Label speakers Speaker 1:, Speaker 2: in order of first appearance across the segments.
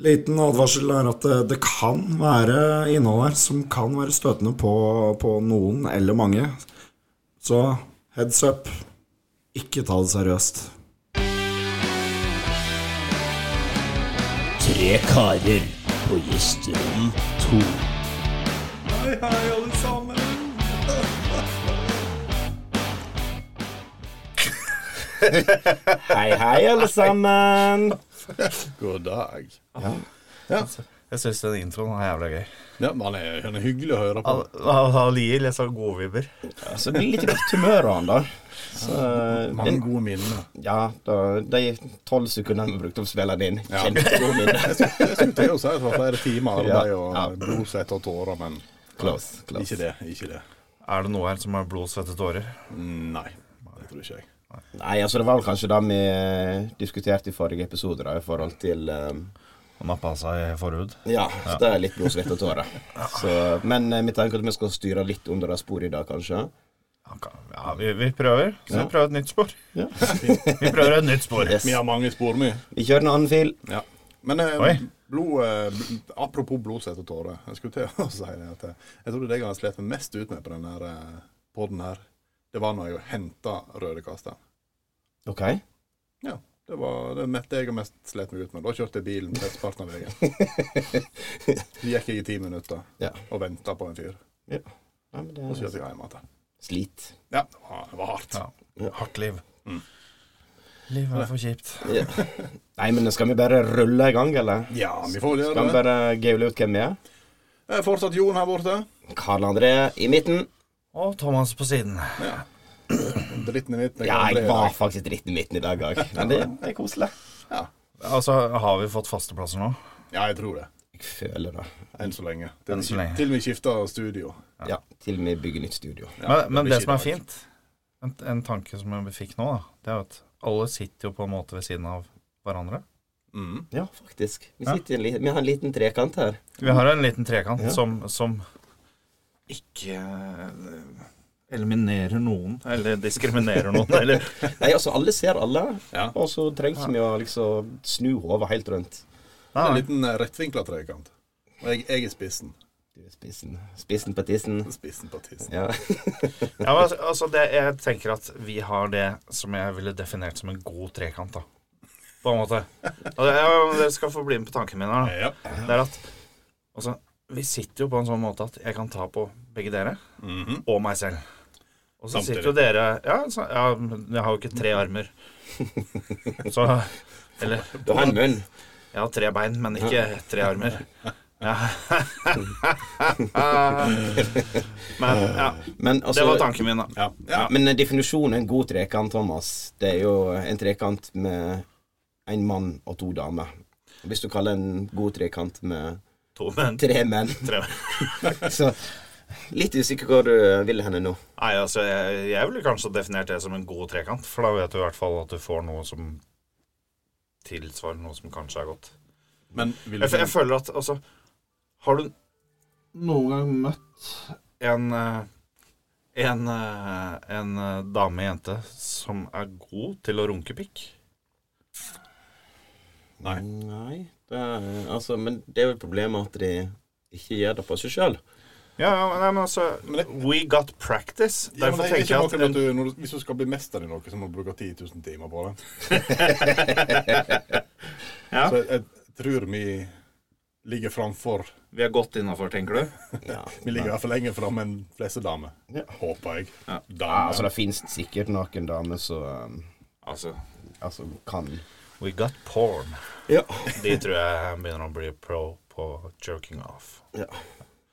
Speaker 1: Liten advarsel er at eh, det, det kan være innhold her som kan være støtende på, på noen eller mange. Så heads up. Ikke ta det seriøst.
Speaker 2: Tre karer på gjesterom to.
Speaker 1: Hei, hei, alle sammen. hei, hei, alle sammen.
Speaker 3: God dag.
Speaker 4: Jeg syns den introen var jævla gøy.
Speaker 3: Ja, men han er, han er hyggelig å høre på.
Speaker 4: Han, han, han gir litt sånn gode vibber.
Speaker 5: Så det blir litt godt humør av han, da. Så,
Speaker 3: Mange
Speaker 5: den,
Speaker 3: gode minner.
Speaker 5: ja, da, de tolv sekundene vi brukte på å spille den inn,
Speaker 3: Ja.
Speaker 5: kjempegode minner.
Speaker 3: Jeg skulle til å si at det var flere timer
Speaker 5: Ja.
Speaker 3: arbeid og
Speaker 5: Ja.
Speaker 3: blod, svette og tårer, men
Speaker 5: Close, close.
Speaker 3: ikke det. Ikke det.
Speaker 4: Er det noe her som er blod, svette, tårer?
Speaker 3: Nei, det tror ikke jeg.
Speaker 5: Nei, altså det var vel kanskje det vi eh, diskuterte i forrige episode, da, i forhold til eh,
Speaker 4: Han har passa i forhud.
Speaker 5: Ja, så det er litt blod, svette og tårer. Så- Men eh, vi tenker at vi skal styre litt under det sporet i dag, kanskje.
Speaker 4: Han kan- Ja, vi, vi prøver. Skal vi prøve et nytt spor?
Speaker 5: Ja.
Speaker 4: Vi prøver et nytt spor.
Speaker 5: Yes.
Speaker 3: Vi har mange spor, vi.
Speaker 5: Vi kjører en annen fil.
Speaker 3: Ja. Men eh,
Speaker 4: Oi.
Speaker 3: blod, eh, bl- apropos blod, svette og tårer. Jeg skulle til å si det at eh, jeg tror det er det jeg har slitt mest ut med på den her eh, podden her. Det var når jeg henta røde kasteren.
Speaker 5: OK.
Speaker 3: Ja. Det var det mest- det jeg har mest slitt meg ut med. Da kjørte jeg bilen mesteparten av veien. Så gikk jeg i ti minutter
Speaker 5: Ja.
Speaker 3: og venta på en fyr.
Speaker 5: Ja, men
Speaker 3: Og så
Speaker 5: det er
Speaker 3: kjørte jeg hjem igjen.
Speaker 5: slit.
Speaker 3: Ja, det var, det var hardt.
Speaker 4: Ja. Hardt liv. Livet er for kjipt.
Speaker 5: Ja. Nei, men skal vi bare rulle i gang, eller?
Speaker 3: Ja, vi får
Speaker 5: Skal vi
Speaker 3: gjøre det.
Speaker 5: bare gaule ut hvem vi er?
Speaker 3: Det er fortsatt Jon her borte.
Speaker 5: Karl André i midten.
Speaker 4: Og Thomas på siden.
Speaker 3: Dritten i mitt. det
Speaker 5: Ja,
Speaker 3: kan bli
Speaker 5: jeg
Speaker 3: i
Speaker 5: var
Speaker 3: dag.
Speaker 5: faktisk dritten i midten i dag òg. Men det det er koselig.
Speaker 3: Ja.
Speaker 4: Altså, har vi fått faste plasser nå?
Speaker 3: ja, jeg tror det.
Speaker 5: Jeg føler det.
Speaker 3: Enn så lenge. Til,
Speaker 4: Enn så lenge.
Speaker 3: til vi skifter studio.
Speaker 5: Ja, til og med bygge nytt studio.
Speaker 3: Ja,
Speaker 4: men men
Speaker 3: blir
Speaker 4: det som
Speaker 3: ikke
Speaker 4: er
Speaker 3: i dag.
Speaker 4: fint, en, en tanke som vi fikk nå, da, det er jo at alle sitter jo på en måte ved siden av hverandre.
Speaker 3: Mm.
Speaker 5: Ja, faktisk. Vi,
Speaker 4: Ja.
Speaker 5: sitter i en li- vi har en liten trekant her.
Speaker 4: Vi har en liten trekant
Speaker 5: Ja.
Speaker 4: som, som ikke eh, eliminerer noen, eller diskriminerer noen, eller
Speaker 5: Nei, altså, alle ser alle,
Speaker 3: Ja.
Speaker 5: og så trengs vi å liksom snu hodet helt rundt.
Speaker 4: Nei,
Speaker 3: En
Speaker 4: nei.
Speaker 3: liten eh, rettvinkla trekant. Og jeg, jeg er spissen.
Speaker 5: Du er Spissen, spissen på tissen.
Speaker 3: Spissen på tissen.
Speaker 5: Ja.
Speaker 4: Ja, men altså- altså det, Jeg tenker at vi har det som jeg ville definert som en god trekant, da. På en måte. Og det, ja, men dere skal få bli med på tankene mine. Da.
Speaker 3: Ja.
Speaker 4: Det er at altså, Vi sitter jo på en sånn måte at jeg kan ta på begge dere
Speaker 3: Mhm.
Speaker 4: og meg selv. Og så
Speaker 3: Samtidig.
Speaker 4: sitter jo dere ja, så, ja, men jeg har jo ikke tre armer. Så Eller
Speaker 5: Du har en munn.
Speaker 4: jeg har tre bein, men ikke tre armer. Ja. Men ja,
Speaker 5: Men altså
Speaker 4: det var tanken min, da.
Speaker 3: Ja. ja.
Speaker 5: Men eh, definisjonen en god trekant, Thomas, det er jo en trekant med en mann og to damer. Hvis du kaller en god trekant med
Speaker 4: To menn.
Speaker 5: tre menn,
Speaker 4: Tre.
Speaker 5: så Litt usikker hvor du vil henne nå.
Speaker 4: Nei, altså, jeg, jeg ville kanskje definert det som en god trekant, for da vet du i hvert fall at du får noe som tilsvarer noe som kanskje er godt.
Speaker 3: Men vil
Speaker 4: Jeg, f- jeg føler at, altså, har du noen gang møtt en, eh, en, eh, en eh, dame, jente, som er god til å runke pikk?
Speaker 3: Nei.
Speaker 5: Nei, det er, altså, men det er jo problemet at de ikke gjør det på seg sjøl.
Speaker 4: Ja, ja, nei, men altså, we got practice.
Speaker 3: Ja, men
Speaker 4: Derfor
Speaker 3: det er ikke
Speaker 4: tenker jeg at
Speaker 3: noe med at du, når du, hvis du skal bli mester i noe, så må du bruke 10 000 timer på det.
Speaker 4: Ja.
Speaker 3: Så jeg, jeg tror vi ligger framfor
Speaker 4: vi er godt innafor, tenker du?
Speaker 5: Ja,
Speaker 3: Vi ligger i hvert fall lenger framme enn fleste damer.
Speaker 5: Ja.
Speaker 3: Håper jeg.
Speaker 5: Ja, altså,
Speaker 3: Damer.
Speaker 5: det fins sikkert noen damer som um,
Speaker 4: Altså,
Speaker 5: altså, kan
Speaker 4: we got porn.
Speaker 5: Ja.
Speaker 4: De tror jeg begynner å bli pro på jerking off.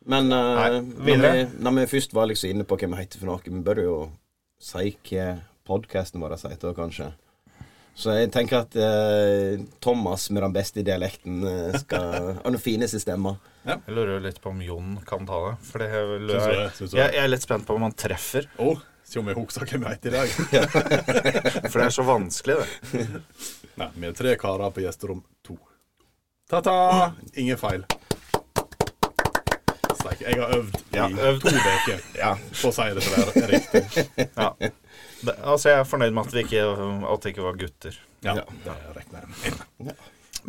Speaker 5: Men uh,
Speaker 4: Nei,
Speaker 5: når, vi,
Speaker 4: videre.
Speaker 5: når vi først var liksom inne på hva vi heter for noe, vi bør jo si hva podkasten vår heter, kanskje. Så jeg tenker at eh, Thomas med den beste dialekten eh, skal Og den fineste stemma.
Speaker 4: Jeg lurer jo litt på om Jon kan ta det. For det er vel-
Speaker 3: Syns du det?
Speaker 4: jeg,
Speaker 3: Syns du det?
Speaker 4: jeg er litt spent på om han treffer.
Speaker 3: Å, se om jeg husker hvem jeg heter i dag.
Speaker 4: For det er så vanskelig, det.
Speaker 3: Nei, vi er tre karer på gjesterom to. Ta-ta! Ingen feil. Steik, jeg har øvd i
Speaker 4: Ja, øvd.
Speaker 3: to uker
Speaker 5: Ja.
Speaker 3: på å si det til dere riktig.
Speaker 4: Ja. Det, altså, jeg er fornøyd med at, vi ikke, at det ikke var gutter.
Speaker 3: Ja, det regner jeg med.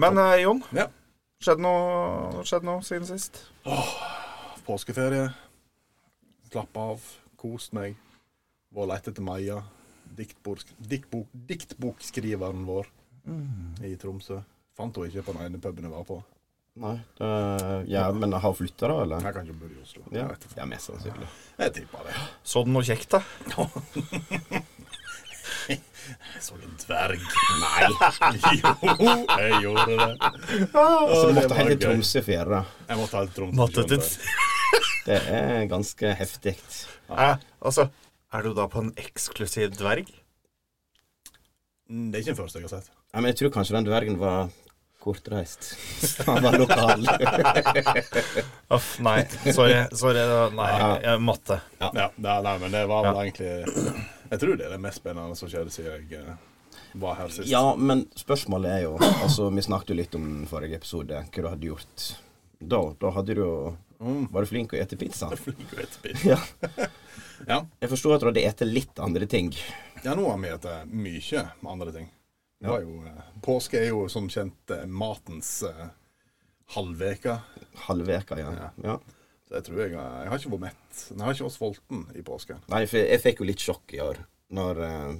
Speaker 4: Men eh, Jon,
Speaker 3: Ja.
Speaker 4: Skjedd noe, skjedd noe siden sist?
Speaker 3: Påskeferie. Slapp av. Kost meg. Vår lett etter Maja. Diktbok, diktbok, diktbokskriveren vår
Speaker 5: Mm.
Speaker 3: i Tromsø. Fant hun ikke på den ene puben jeg var på.
Speaker 5: Nei, det, ja, men har hun flytta, da, eller?
Speaker 3: Jeg kan ikke bo i Oslo.
Speaker 5: Ja,
Speaker 3: Jeg, vet ikke.
Speaker 5: ja mest sannsynlig.
Speaker 3: jeg tippa det.
Speaker 4: Så du noe kjekt, da?
Speaker 3: Jeg så en dverg. Nei. jo, jeg gjorde det.
Speaker 5: Så
Speaker 3: Å,
Speaker 5: du
Speaker 3: det
Speaker 5: måtte
Speaker 3: var
Speaker 5: helt til
Speaker 3: gøy.
Speaker 5: Tromsø for å gjøre det.
Speaker 3: Jeg måtte helt Tromsø. skjønner
Speaker 4: Mattetet.
Speaker 3: du.
Speaker 5: Det er ganske heftig.
Speaker 4: Eh, altså, er du da på en eksklusiv dverg?
Speaker 3: Mm, Det er ikke den første jeg har sett.
Speaker 5: Ja, men jeg tror kanskje den dvergen var kortreist. Han var lokal.
Speaker 4: Uff, nei. Sorry. sorry da- nei, jeg matte.
Speaker 3: Ja, nei, nei, men det var vel egentlig Jeg tror det er det mest spennende som skjedde siden jeg eh, var her sist.
Speaker 5: Ja, men spørsmålet er jo Altså, vi snakket jo litt om den forrige episode, hva du hadde gjort. Da, da hadde du jo
Speaker 3: Mm.
Speaker 5: Var du flink å ete pizza?
Speaker 3: Flink og etterpå.
Speaker 5: Ja.
Speaker 3: Ja.
Speaker 5: Jeg forstår at du hadde ete litt andre ting.
Speaker 3: Ja, nå har vi spist mye med andre ting. Det var jo, eh, påske er jo som kjent eh, matens eh, halvveke.
Speaker 5: Halvveka, ja. ja.
Speaker 3: Så jeg tror jeg, har- jeg har ikke vært mett. Jeg har ikke vært sulten i påsken.
Speaker 5: Nei, for jeg fikk jo litt sjokk i år. Når eh,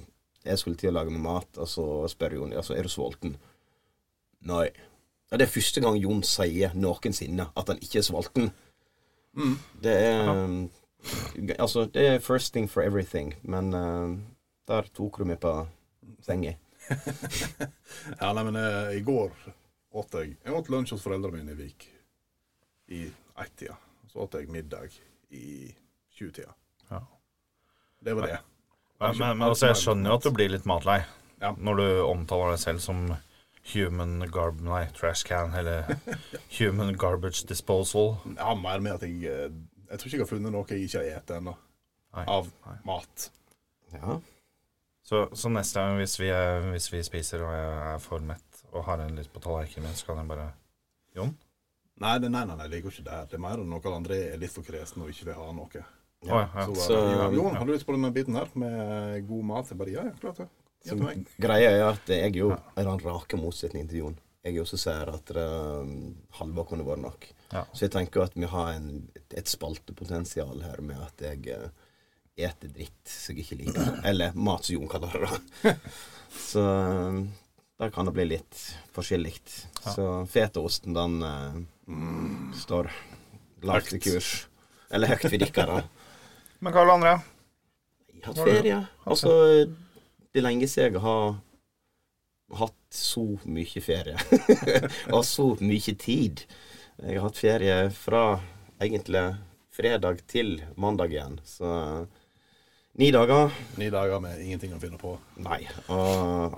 Speaker 5: jeg skulle til å lage meg mat, og så spør Jon altså, er du sulten. Nei. Ja, det er første gang Jon sier noensinne at han ikke er sulten.
Speaker 3: Mm.
Speaker 5: Det er eh, Altså, det er first thing for everything, men eh, der tok du meg på senga.
Speaker 3: Ja, nei, men eh, i går åt jeg Jeg åt lunsj hos foreldrene mine i Vik i ett-tida. Så åt jeg middag i 20-tida.
Speaker 4: Ja.
Speaker 3: Det var det.
Speaker 4: Men, men, men altså, jeg skjønner jo at du blir litt matlei
Speaker 3: Ja.
Speaker 4: når du omtaler deg selv som human garb... Nei, trash can, eller human garbage disposal.
Speaker 3: Ja, mer med at jeg eh, Jeg tror ikke jeg har funnet noe jeg ikke har spist ennå.
Speaker 4: Nei.
Speaker 3: Av
Speaker 4: Nei.
Speaker 3: mat.
Speaker 5: Ja.
Speaker 4: Så, så neste gang, hvis vi, er- hvis vi spiser og jeg er for mett og har en litt på tallerkenen min, så kan jeg bare Jon?
Speaker 3: Nei, det, nei, nei, nei, det går ikke der. Det er mer enn noe André er litt for kresen og ikke vil ha noe.
Speaker 4: Å, ja. ja.
Speaker 3: Så, bare,
Speaker 5: Så-
Speaker 3: Jon, har du lyst på denne biten her med god mat? Jeg bare, ja, ja, klart det. Gi til meg.
Speaker 5: Greia er at jeg er jo i den rake motsetningen til Jon. Jeg er jo som sier at um, halva kunne vært nok.
Speaker 4: Ja.
Speaker 5: Så jeg tenker jo at vi har en, et spaltepotensial her med at jeg uh, eter dritt som jeg ikke liker. Eller mat som Jon kaller det. da. Så um, der kan det bli litt forskjellig. Så fetaosten, den uh,
Speaker 3: mm,
Speaker 5: står lavt i
Speaker 3: Høgt.
Speaker 5: kurs. Eller høyt for dere.
Speaker 4: Men Karl André,
Speaker 5: Jeg har hatt ferie. Altså, det er lenge siden jeg har hatt så mye ferie. og så mye tid. Jeg har hatt ferie fra egentlig fredag til mandag igjen. Så ni dager.
Speaker 3: Ni dager med ingenting å finne på.
Speaker 5: Nei. Og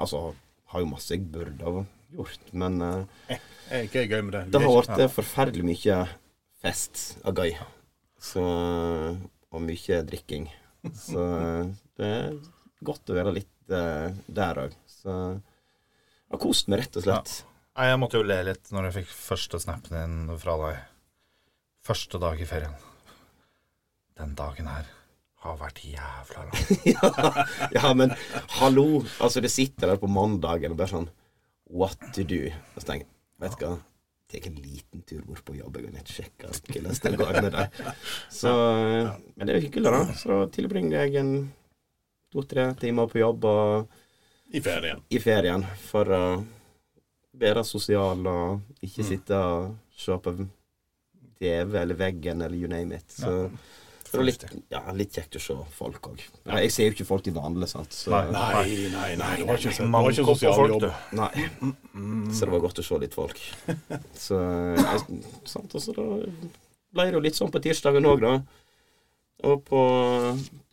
Speaker 5: altså har jo masse jeg burde ha gjort, men eh,
Speaker 3: Er ikke gøy med det? Vi
Speaker 5: det
Speaker 3: er
Speaker 5: har
Speaker 3: ikke-
Speaker 5: vært eh, forferdelig mye fest og gøy. Så, og mye drikking. Så eh, det er godt å være litt eh, der òg. Så jeg har kost meg, rett og slett.
Speaker 4: Nei, jeg måtte jo le litt når jeg fikk første snappen din fra deg. Første dag i ferien. Den dagen her har vært jævla lang.
Speaker 5: Ja, men hallo! Altså, det sitter der på mandagen og bare sånn What to do? Og så tenker jeg, vet du hva Tek en liten tur bort på jobb og sjekke hvordan det går med deg. Så eh, Men det er jo hyggelig, da. Så da tilbringer jeg en to-tre timer på jobb og
Speaker 3: I ferien.
Speaker 5: i ferien for å være sosial og ikke sitte og se på TV eller veggen eller you name it. Så, så det var litt, ja, litt kjekt å se folk òg. Jeg ser jo ikke folk til vanlig, sant. Så,
Speaker 4: Nei.
Speaker 3: Nei, nei, nei. Det var ikke, det var
Speaker 4: Manko
Speaker 3: ikke
Speaker 4: på
Speaker 3: sosial
Speaker 4: folk,
Speaker 3: jobb. Mm.
Speaker 4: du.
Speaker 5: Nei. så det var godt å se litt folk. Så, jeg, sant, og så da ble det jo litt sånn på tirsdagen òg, da. Og på,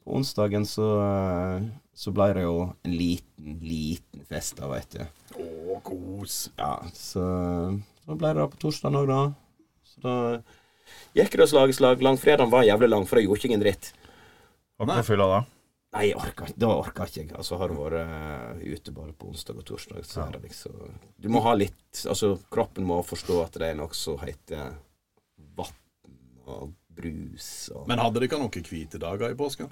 Speaker 5: på onsdagen så, eh, så ble det jo en liten, liten fest, da, veit du.
Speaker 3: Å, kos.
Speaker 5: Ja, så da ble det da på torsdagen òg, da. Så da gikk det slag i slag. Langfredagen var jævlig lang, for jeg gjorde ikke en dritt.
Speaker 4: Var ikke på fylla da?
Speaker 5: Nei, jeg orka ikke. Da orka ikke jeg. Altså, har du vært eh, ute bare på onsdag og torsdag, så er det liksom Du må ha litt Altså, kroppen må forstå at det er noe som heter vann og brus og
Speaker 3: Men hadde dere noen hvite dager i påsken?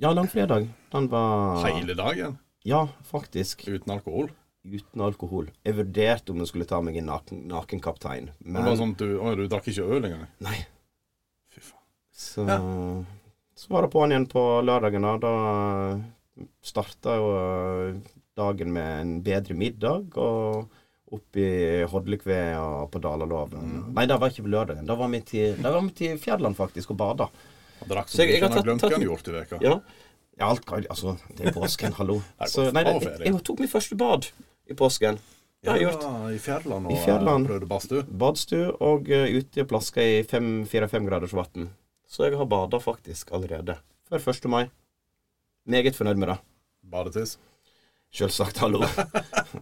Speaker 5: Ja, langfredag. Den var
Speaker 3: Hele dagen?
Speaker 5: Ja, faktisk.
Speaker 3: Uten alkohol?
Speaker 5: uten alkohol. Jeg vurderte om jeg skulle ta meg en naken, nakenkaptein,
Speaker 3: Men
Speaker 5: men
Speaker 3: det var sånn at du, å, du drakk ikke øl engang?
Speaker 5: Nei.
Speaker 3: Fy faen.
Speaker 5: Så, så var det på'n igjen på lørdagen. Da, da starta jo eh, dagen med en bedre middag. og opp i Hodlekve og på Dalalåven. Nei, det var ikke på lørdagen. Da var vi til, da var vi til Fjærland, faktisk, og bada.
Speaker 3: Han drakk
Speaker 5: Så
Speaker 3: så
Speaker 5: jeg-
Speaker 3: mye at
Speaker 5: jeg har
Speaker 3: han
Speaker 5: tatt-
Speaker 3: glemte hva han gjorde i veka.
Speaker 5: Ja. ja alt kan, altså, det er påsken, hallo.
Speaker 3: Nei,
Speaker 5: Så, nei,
Speaker 3: faen,
Speaker 5: jeg,
Speaker 3: ferie.
Speaker 5: jeg tok mitt første bad i påsken. Det har jeg gjort.
Speaker 3: i Fjærland
Speaker 5: I
Speaker 3: og
Speaker 5: Fjærland.
Speaker 3: eh, prøvde badstue.
Speaker 5: Badstue og eh, ute og plaska i fem- fire-fem graders vann. Så jeg har bada faktisk allerede. Før 1. mai. Meget fornøyd med det.
Speaker 3: Badetiss.
Speaker 5: Sjølsagt, hallo.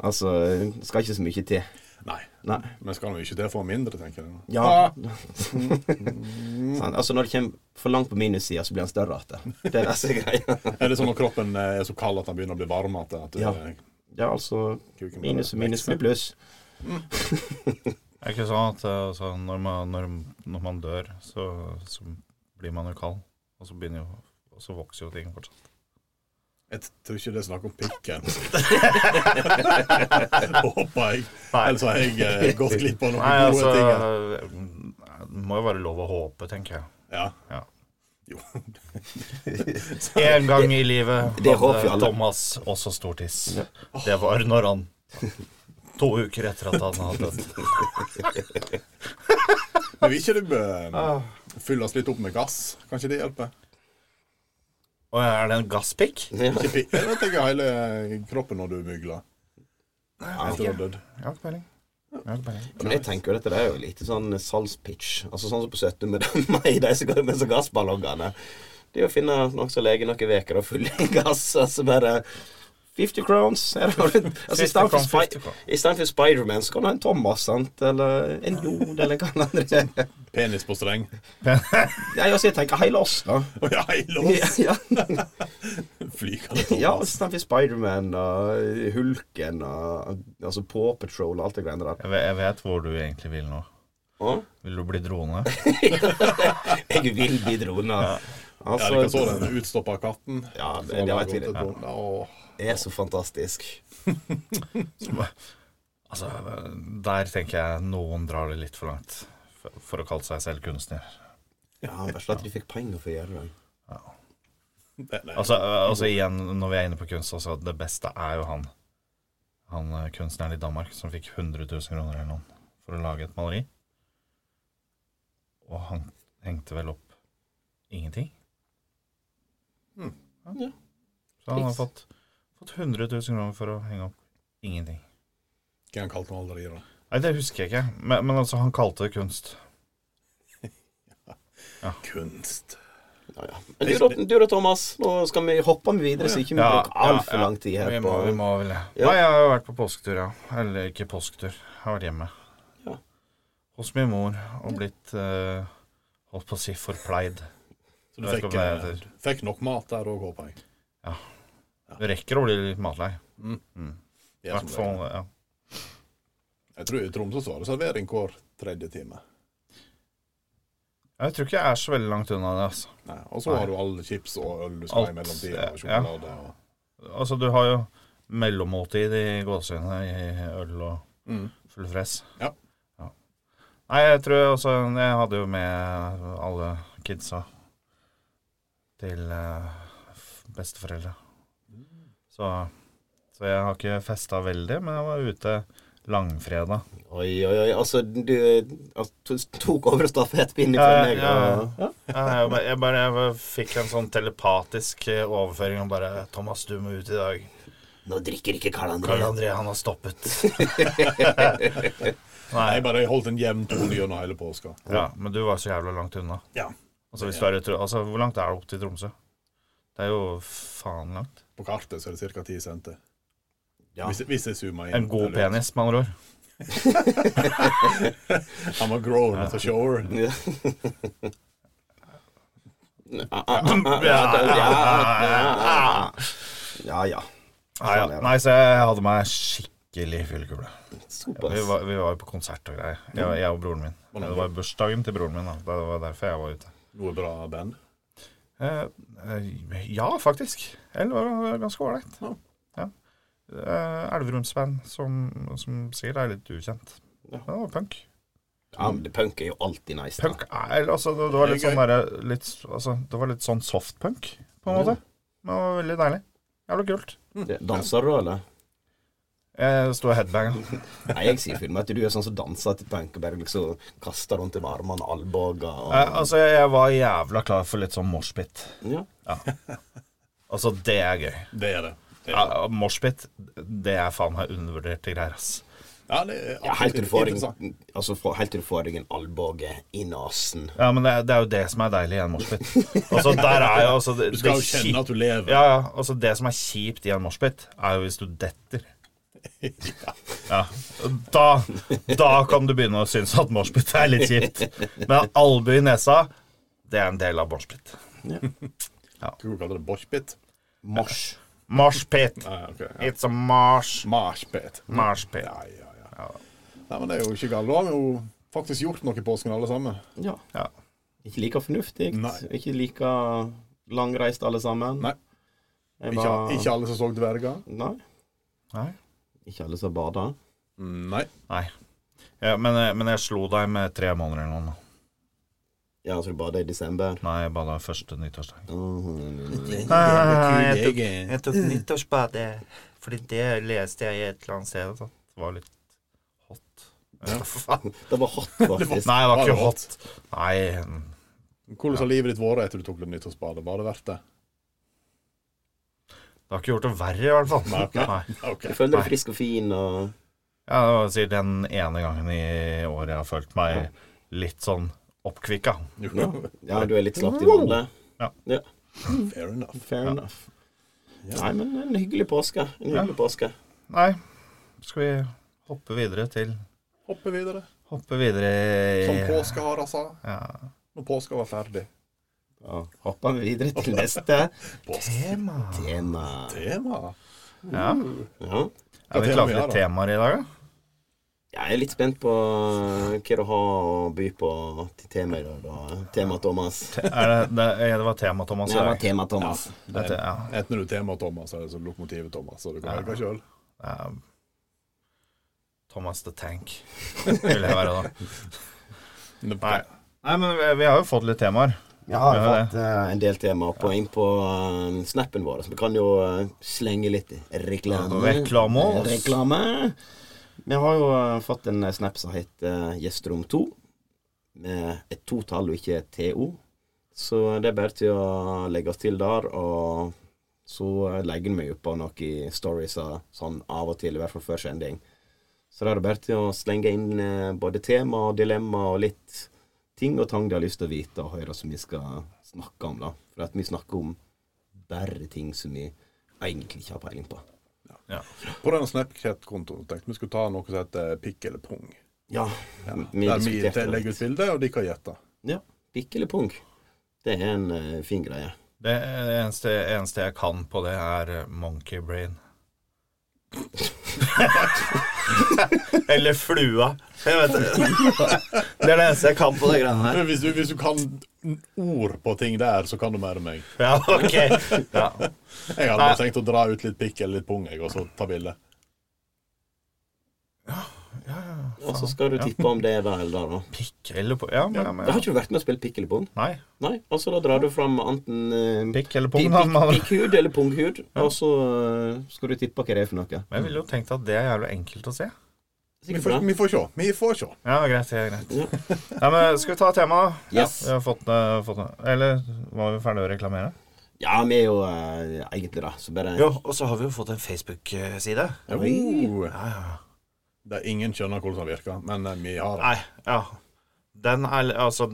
Speaker 5: altså, det skal ikke så mye til.
Speaker 3: Nei.
Speaker 5: Nei.
Speaker 3: Men skal han jo ikke det for mindre, tenker jeg.
Speaker 5: Ja.
Speaker 3: Ah,
Speaker 5: Sånn, altså, når det kommer for langt på minussida, så blir han større igjen. Det er det som er greia.
Speaker 3: er det sånn når kroppen er så kald at han begynner å bli varm at, at
Speaker 5: Ja.
Speaker 3: eh,
Speaker 5: ja, altså
Speaker 3: kuken blir
Speaker 5: Minus og minus blir pluss.
Speaker 4: Er ikke sånn at eh, altså, når, man, når, når man dør, så, så blir man jo kald, og så, begynner jo, og så vokser jo ting fortsatt.
Speaker 3: Jeg tror ikke det er snakk om pikken. Håper jeg. Ellers har jeg eh, gått glipp av noen
Speaker 4: Nei,
Speaker 3: gode
Speaker 4: altså eh,
Speaker 3: ting. her.
Speaker 4: Det må jo være lov å håpe, tenker jeg.
Speaker 3: Ja.
Speaker 4: Ja.
Speaker 3: Jo.
Speaker 4: En gang i livet
Speaker 5: det håper vi
Speaker 4: hadde
Speaker 5: alle.
Speaker 4: Thomas også stor tiss. Det var når han To uker etter at han hadde dødd.
Speaker 3: Men vil ikke du
Speaker 5: Ah.
Speaker 3: eh, fylle oss litt opp med gass? Kan ikke det hjelpe?
Speaker 4: Og er det en gasspikk?
Speaker 3: Ikke pikk. Jeg vet ikke hele kroppen når du mygler. Etter å ha dødd.
Speaker 4: Jeg har ikke peiling. Jeg har ikke peiling.
Speaker 5: Men jeg tenker jo dette det er jo litt sånn salgspitch. Altså sånn som på 17. med meg, de som går med så gassballongene. Det er å finne noen som leger noen uker og fyller gass, og så bare 50 crowns. er det hva du- Altså, I
Speaker 4: 50
Speaker 5: stedet for,
Speaker 4: crown,
Speaker 5: Spi-
Speaker 4: 50 crown.
Speaker 5: i stedet for Spiderman, så kan du ha en Thomas, sant? Eller en Jod, eller hva andre det
Speaker 3: Penis på streng.
Speaker 5: Nei, altså, jeg tenker hele oss, da.
Speaker 3: Å ja, i lås!
Speaker 5: Ja, ja.
Speaker 3: Flykende
Speaker 5: ja
Speaker 3: Thomas.
Speaker 5: istedenfor Spiderman og Hulken og altså Paw Patrol og alt det greiene der.
Speaker 4: Jeg, vet, jeg vet hvor du egentlig vil nå.
Speaker 5: Og
Speaker 4: Vil du bli drone?
Speaker 5: jeg vil bli drona.
Speaker 3: Ja, de kan så den utstoppa katten.
Speaker 5: Ja, det-
Speaker 3: Så
Speaker 5: det
Speaker 3: har
Speaker 5: vet vi
Speaker 3: gått
Speaker 5: det.
Speaker 3: et- Åh.
Speaker 5: Det er så fantastisk.
Speaker 4: Altså, der tenker jeg noen drar det litt for langt. For, for å kalle seg selv kunstner.
Speaker 5: Ja, Verst at de fikk penger for å gjøre det.
Speaker 3: Det- det-
Speaker 4: Altså, øh, altså igjen, når vi er inne på kunst, altså, det beste er jo han Han øh, kunstneren i Danmark som fikk 100 000 kroner eller noe for å lage et maleri. Og han hengte vel opp ingenting.
Speaker 3: Hmm.
Speaker 5: Ja.
Speaker 4: Så han har
Speaker 5: Triks.
Speaker 4: fått, fått 100 000 kroner for å henge opp ingenting.
Speaker 3: Hva han kalte han aldri, da?
Speaker 4: Nei, det husker jeg ikke, men, men altså, han kalte det kunst.
Speaker 3: Kunst.
Speaker 5: Ja, ja. Men du da, du da, Thomas. Nå skal vi hoppe med videre, så ikke vi bruker altfor
Speaker 4: ja, ja.
Speaker 5: lang tid her
Speaker 4: Vi
Speaker 5: på
Speaker 4: må, vi må vel det.
Speaker 5: Ja.
Speaker 4: Nei, jeg har jo vært på påsketur, ja. Eller ikke påsketur. Jeg har vært hjemme.
Speaker 5: Ja.
Speaker 4: Hos min mor og blitt eh, holdt på å si forpleid.
Speaker 3: Så du
Speaker 4: Jeg vet
Speaker 3: fikk,
Speaker 4: ikke om det
Speaker 3: eh,
Speaker 4: heter.
Speaker 3: fikk nok mat der òg, håper jeg.
Speaker 4: Du rekker å bli litt matlei. I
Speaker 3: Det er som det
Speaker 4: hvert
Speaker 3: er.
Speaker 4: fall ja.
Speaker 3: Jeg tror i Tromsø så var det servering hver tredje time.
Speaker 4: Jeg tror ikke jeg er så veldig langt unna det. Altså,
Speaker 3: Nei, Og så
Speaker 4: Nei.
Speaker 3: har du alle chips og øl du skal ha i
Speaker 4: Alt,
Speaker 3: mellomtida, og
Speaker 4: ja.
Speaker 3: sjokolade og
Speaker 4: altså du har jo mellommåltid i gåseøynene i øl og
Speaker 3: Mm.
Speaker 4: full fress.
Speaker 3: Ja.
Speaker 4: Ja. Nei, jeg tror også Jeg hadde jo med alle kidsa til eh, f- besteforeldre. Så, så jeg har ikke festa veldig, men jeg var ute langfredag.
Speaker 5: Oi, oi, oi. Altså, du altså, to- tok over stafettpinnen
Speaker 4: Ja,
Speaker 5: fra
Speaker 4: ja,
Speaker 5: meg.
Speaker 4: ja,
Speaker 5: og- Ja.
Speaker 4: Jeg, jeg, bare- jeg bare jeg fikk en sånn telepatisk eh, overføring om bare 'Thomas, du må ut i dag'.
Speaker 5: Nå drikker ikke Karl
Speaker 4: Karl
Speaker 5: André.
Speaker 4: André, han har stoppet.
Speaker 3: Nei,
Speaker 4: Nei,
Speaker 3: bare jeg holdt en jevn tone gjennom hele påska.
Speaker 4: ja, men du var så jævla langt unna.
Speaker 3: Ja.
Speaker 4: Altså, hvis du er, i Tro- altså, hvor langt er det opp til Tromsø? Det er jo faen langt.
Speaker 3: På kartet så er det ca. 10 center.
Speaker 5: Ja.
Speaker 3: Hvis, hvis jeg zoomer inn.
Speaker 4: En god
Speaker 3: Eller-
Speaker 4: penis, med andre ord.
Speaker 3: I'm a grown at the shore.
Speaker 5: Ja. Ja, ja. ja.
Speaker 4: Nei, ja. Nei, så jeg hadde meg skikkelig fyllekule. Vi
Speaker 5: Såpass.
Speaker 4: var, vi var jo på konsert og greier, jeg, jeg og broren min. Ja, Det var bursdagen til broren min, da. Det var derfor jeg var ute.
Speaker 3: Noe bra band.
Speaker 4: Eh, eh, ja, faktisk. Eller var det ganske ålreit. Ja. eh, Elverumsband som, som sikkert er litt ukjent. Ja, det var punk.
Speaker 5: Ja, men det punk er jo alltid nice. da.
Speaker 4: Punk er altså, det, det var litt
Speaker 3: Det er
Speaker 4: sånn derre- litt, altså, Det var litt sånn softpunk, på en måte. Men det var veldig deilig. Jævla kult.
Speaker 5: Det- Danser du, eller?
Speaker 4: Jeg sto og headbanga.
Speaker 5: Nei, jeg sier filmen at du er sånn som danser til punk og bare liksom kaster rundt i med armene og albuer og
Speaker 4: Eh, altså, jeg var jævla klar for litt sånn moshpit.
Speaker 5: ja.
Speaker 4: Altså, det er gøy.
Speaker 3: Det er det. det, er det.
Speaker 4: Ja, Moshpit, det er faen meg undervurderte greier, ass.
Speaker 3: Ja, det er
Speaker 5: Ja, helt til du får
Speaker 3: interessant.
Speaker 5: deg altså, få- helt til du får deg en albue i nesen.
Speaker 4: Ja, men det er, det er jo det som er deilig i en moshpit. Altså, der er jo altså det,
Speaker 3: Du skal jo
Speaker 4: det
Speaker 3: kjenne
Speaker 4: kjip-
Speaker 3: at du lever.
Speaker 4: ja, ja, altså Det som er kjipt i en moshpit, er jo hvis du detter. Ja. Da, da kan du begynne å synes at moshpit er litt kjipt. Men albue i nesa, det er en del av moshpit.
Speaker 3: Tror du kaller det boshpit?
Speaker 5: Mars.
Speaker 4: Moshpit.
Speaker 3: Nei, ok. Ja.
Speaker 4: It's a marsh.
Speaker 3: Marshpit.
Speaker 4: Marshpit.
Speaker 3: Ja, ja, ja. Nei, men det er jo ikke galt. Da har vi jo faktisk gjort noe i påsken, alle sammen.
Speaker 5: Ja.
Speaker 4: Ja.
Speaker 5: Ikke like fornuftig.
Speaker 3: Nei.
Speaker 5: Ikke like langreist, alle sammen.
Speaker 3: Nei.
Speaker 5: Jeg
Speaker 3: Ikke,
Speaker 5: var-
Speaker 3: ikke alle som så dverger.
Speaker 5: Nei.
Speaker 4: Nei.
Speaker 5: Ikke alle som bada.
Speaker 3: Nei.
Speaker 4: Nei. Ja, men, eh, men jeg slo deg med tre måneder eller noe. da.
Speaker 5: Ja, altså du bada i desember.
Speaker 4: Nei, jeg bada første nyttårsdag.
Speaker 5: Mhm.
Speaker 4: Jeg tok nyttårsbade fordi det leste jeg i et eller annet sted. At det var litt hot. Ja, faen.
Speaker 5: Det var hot, faktisk.
Speaker 4: Nei, det var
Speaker 3: Var det
Speaker 4: ikke hot. Nei.
Speaker 3: Hvordan har livet ditt vært etter du tok det nyttårsbadet? Var det verdt det?
Speaker 4: Det har ikke gjort det verre, i hvert fall.
Speaker 3: Nei, ok.
Speaker 4: Nei.
Speaker 3: Ok.
Speaker 5: Du føler deg
Speaker 4: Nei.
Speaker 5: frisk og fin og
Speaker 4: Ja, det var sikkert den ene gangen i året jeg har følt meg litt sånn oppkvikka.
Speaker 3: Jo,
Speaker 5: Ja, ja du er litt slapp i vannet.
Speaker 3: Fair enough.
Speaker 5: Fair enough. Nei, men en hyggelig påske. En hyggelig påske.
Speaker 4: Nei, skal vi hoppe videre til
Speaker 3: Hoppe videre.
Speaker 4: Hoppe videre i
Speaker 3: Som påskehara sa.
Speaker 4: Ja.
Speaker 3: Når påska var ferdig.
Speaker 5: Ja, hopper vi videre til neste
Speaker 4: Tema.
Speaker 5: tema.
Speaker 3: Tema?
Speaker 4: Ja.
Speaker 5: Ja.
Speaker 4: Er vi
Speaker 3: tema vi
Speaker 4: klare for
Speaker 3: har,
Speaker 4: litt
Speaker 3: da?
Speaker 4: temaer i dag, da?
Speaker 5: Jeg er litt spent på hva du har å by på til tema i dag. da. Tema Thomas.
Speaker 4: Er det, det, er- det var tema, Thomas.
Speaker 5: Det
Speaker 4: i
Speaker 5: var
Speaker 4: dag.
Speaker 5: tema Thomas.
Speaker 4: Det er te- ja.
Speaker 3: Enten du er tema Thomas eller så lokomotivet Thomas, så du kan velge sjøl.
Speaker 4: Um, Thomas the Tank vil jeg være, da. Nei. Nei, men vi, vi har jo fått litt temaer.
Speaker 5: Ja,
Speaker 4: vi har
Speaker 5: fått eh, en del tema på inn på eh, snappen vår, så vi kan jo eh, slenge litt reklame.
Speaker 4: Reklame.
Speaker 5: Reklame. Vi har jo eh, fått en eh, snap som heter eh, Gjesterom 2, med et totall og ikke et TO. Så det er bare til å legge oss til der, og så eh, legger vi opp på noen stories eh, sånn av og til, i hvert fall før sending. Så da er det bare til å slenge inn eh, både tema og dilemma og litt ting og tang de har lyst til å vite og høre som vi skal snakke om, da. For at vi snakker om bare ting som vi egentlig ikke har peiling på.
Speaker 3: På den Snapchat-kontoen tenkte vi skulle ta noe som heter pikk eller pung.
Speaker 5: Ja. vi
Speaker 3: Der vi
Speaker 5: diskuterte det.
Speaker 3: legger ut bilde, og de kan gjette.
Speaker 5: ja. Pikk eller pung? Det er en eh, fin greie.
Speaker 4: Det eneste, eneste jeg kan på det, er eh, monkey brain. Eller flua. Jeg vet det. Det er det eneste jeg kan på det greiene her.
Speaker 3: Men Hvis du, hvis du kan ord på ting der, så kan du mer enn meg.
Speaker 4: Ja, ok. Ja.
Speaker 3: Jeg hadde bare tenkt å dra ut litt pikk eller litt pung, jeg, og så ta bilde.
Speaker 5: Og så skal du tippe om det er der eller der, da.
Speaker 4: Pikk eller på Ja, men, men,
Speaker 5: Da har ikke du vært med og spilt pikk eller pung?
Speaker 4: Nei.
Speaker 5: Nei. Og så da drar du fram enten eh,
Speaker 4: Pikk eller
Speaker 5: pi-
Speaker 4: pung, da.
Speaker 5: pikk-
Speaker 4: men-
Speaker 5: pikkhud eller punghud, og så eh, skal du tippe hva det er for noe.
Speaker 4: Men jeg ville jo tenkt at det er jævlig enkelt å se.
Speaker 3: Vi
Speaker 5: Sikkert
Speaker 3: får,
Speaker 5: bra.
Speaker 3: vi får se. Vi får se.
Speaker 4: Ja, greit. det er greit. Nei, men Skal vi ta temaet, da?
Speaker 5: Yes.
Speaker 4: Vi har fått, eh, fått Eller var vi ferdige å reklamere?
Speaker 5: Ja, vi er jo eh, egentlig da, så bare
Speaker 4: Jo, og så har vi jo fått en Facebook-side.
Speaker 3: Jo. Oh. Det er ingen skjønner hvordan det virker, men eh, vi har det.
Speaker 4: Nei, ja. Den er Altså,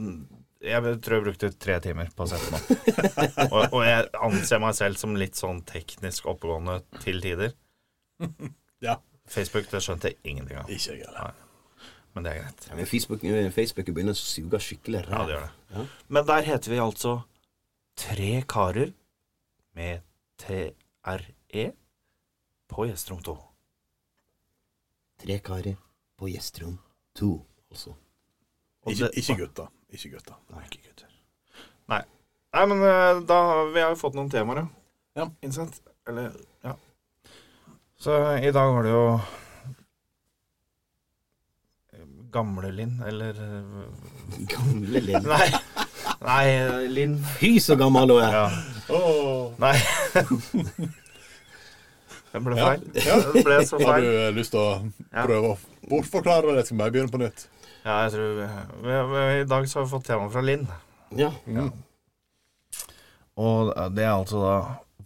Speaker 4: jeg tror jeg brukte tre timer på å sette den opp. og, og jeg anser meg selv som litt sånn teknisk oppegående til tider.
Speaker 3: Ja.
Speaker 4: Facebook, det skjønte jeg ingenting av.
Speaker 3: Ikke jeg heller.
Speaker 4: Men det er greit.
Speaker 5: Ja, men Facebook, eh, Facebook begynner å suge skikkelig
Speaker 4: Ja,
Speaker 5: ræv.
Speaker 4: det gjør det. Men der heter vi altså Tre karer med TRE på Gjesterom 2.
Speaker 5: Tre karer på gjesterom to, altså.
Speaker 3: Ikke, ikke gutta. Ikke gutta.
Speaker 4: Nei, ikke gutter. Nei. Nei, men eh, da Vi har jo fått noen temaer,
Speaker 3: Ja.
Speaker 4: Ikke sant? Eller Ja. Så i dag var det jo Gamle-Linn, eller
Speaker 5: Gamle Linn.
Speaker 4: Nei, nei eh, Linn.
Speaker 5: Fy, så gammel hun er.
Speaker 4: Ja. Nei. Den ble feil. Den ble
Speaker 3: Har
Speaker 4: så
Speaker 3: du
Speaker 4: feil.
Speaker 3: eh, lyst til å
Speaker 4: Ja.
Speaker 3: prøve å bortforklare det? Jeg skal bare begynne på nytt.
Speaker 4: Ja, jeg tror vi, vi, vi, I dag så har vi fått tema fra Linn.
Speaker 5: Ja.
Speaker 4: Mm. Og det er altså da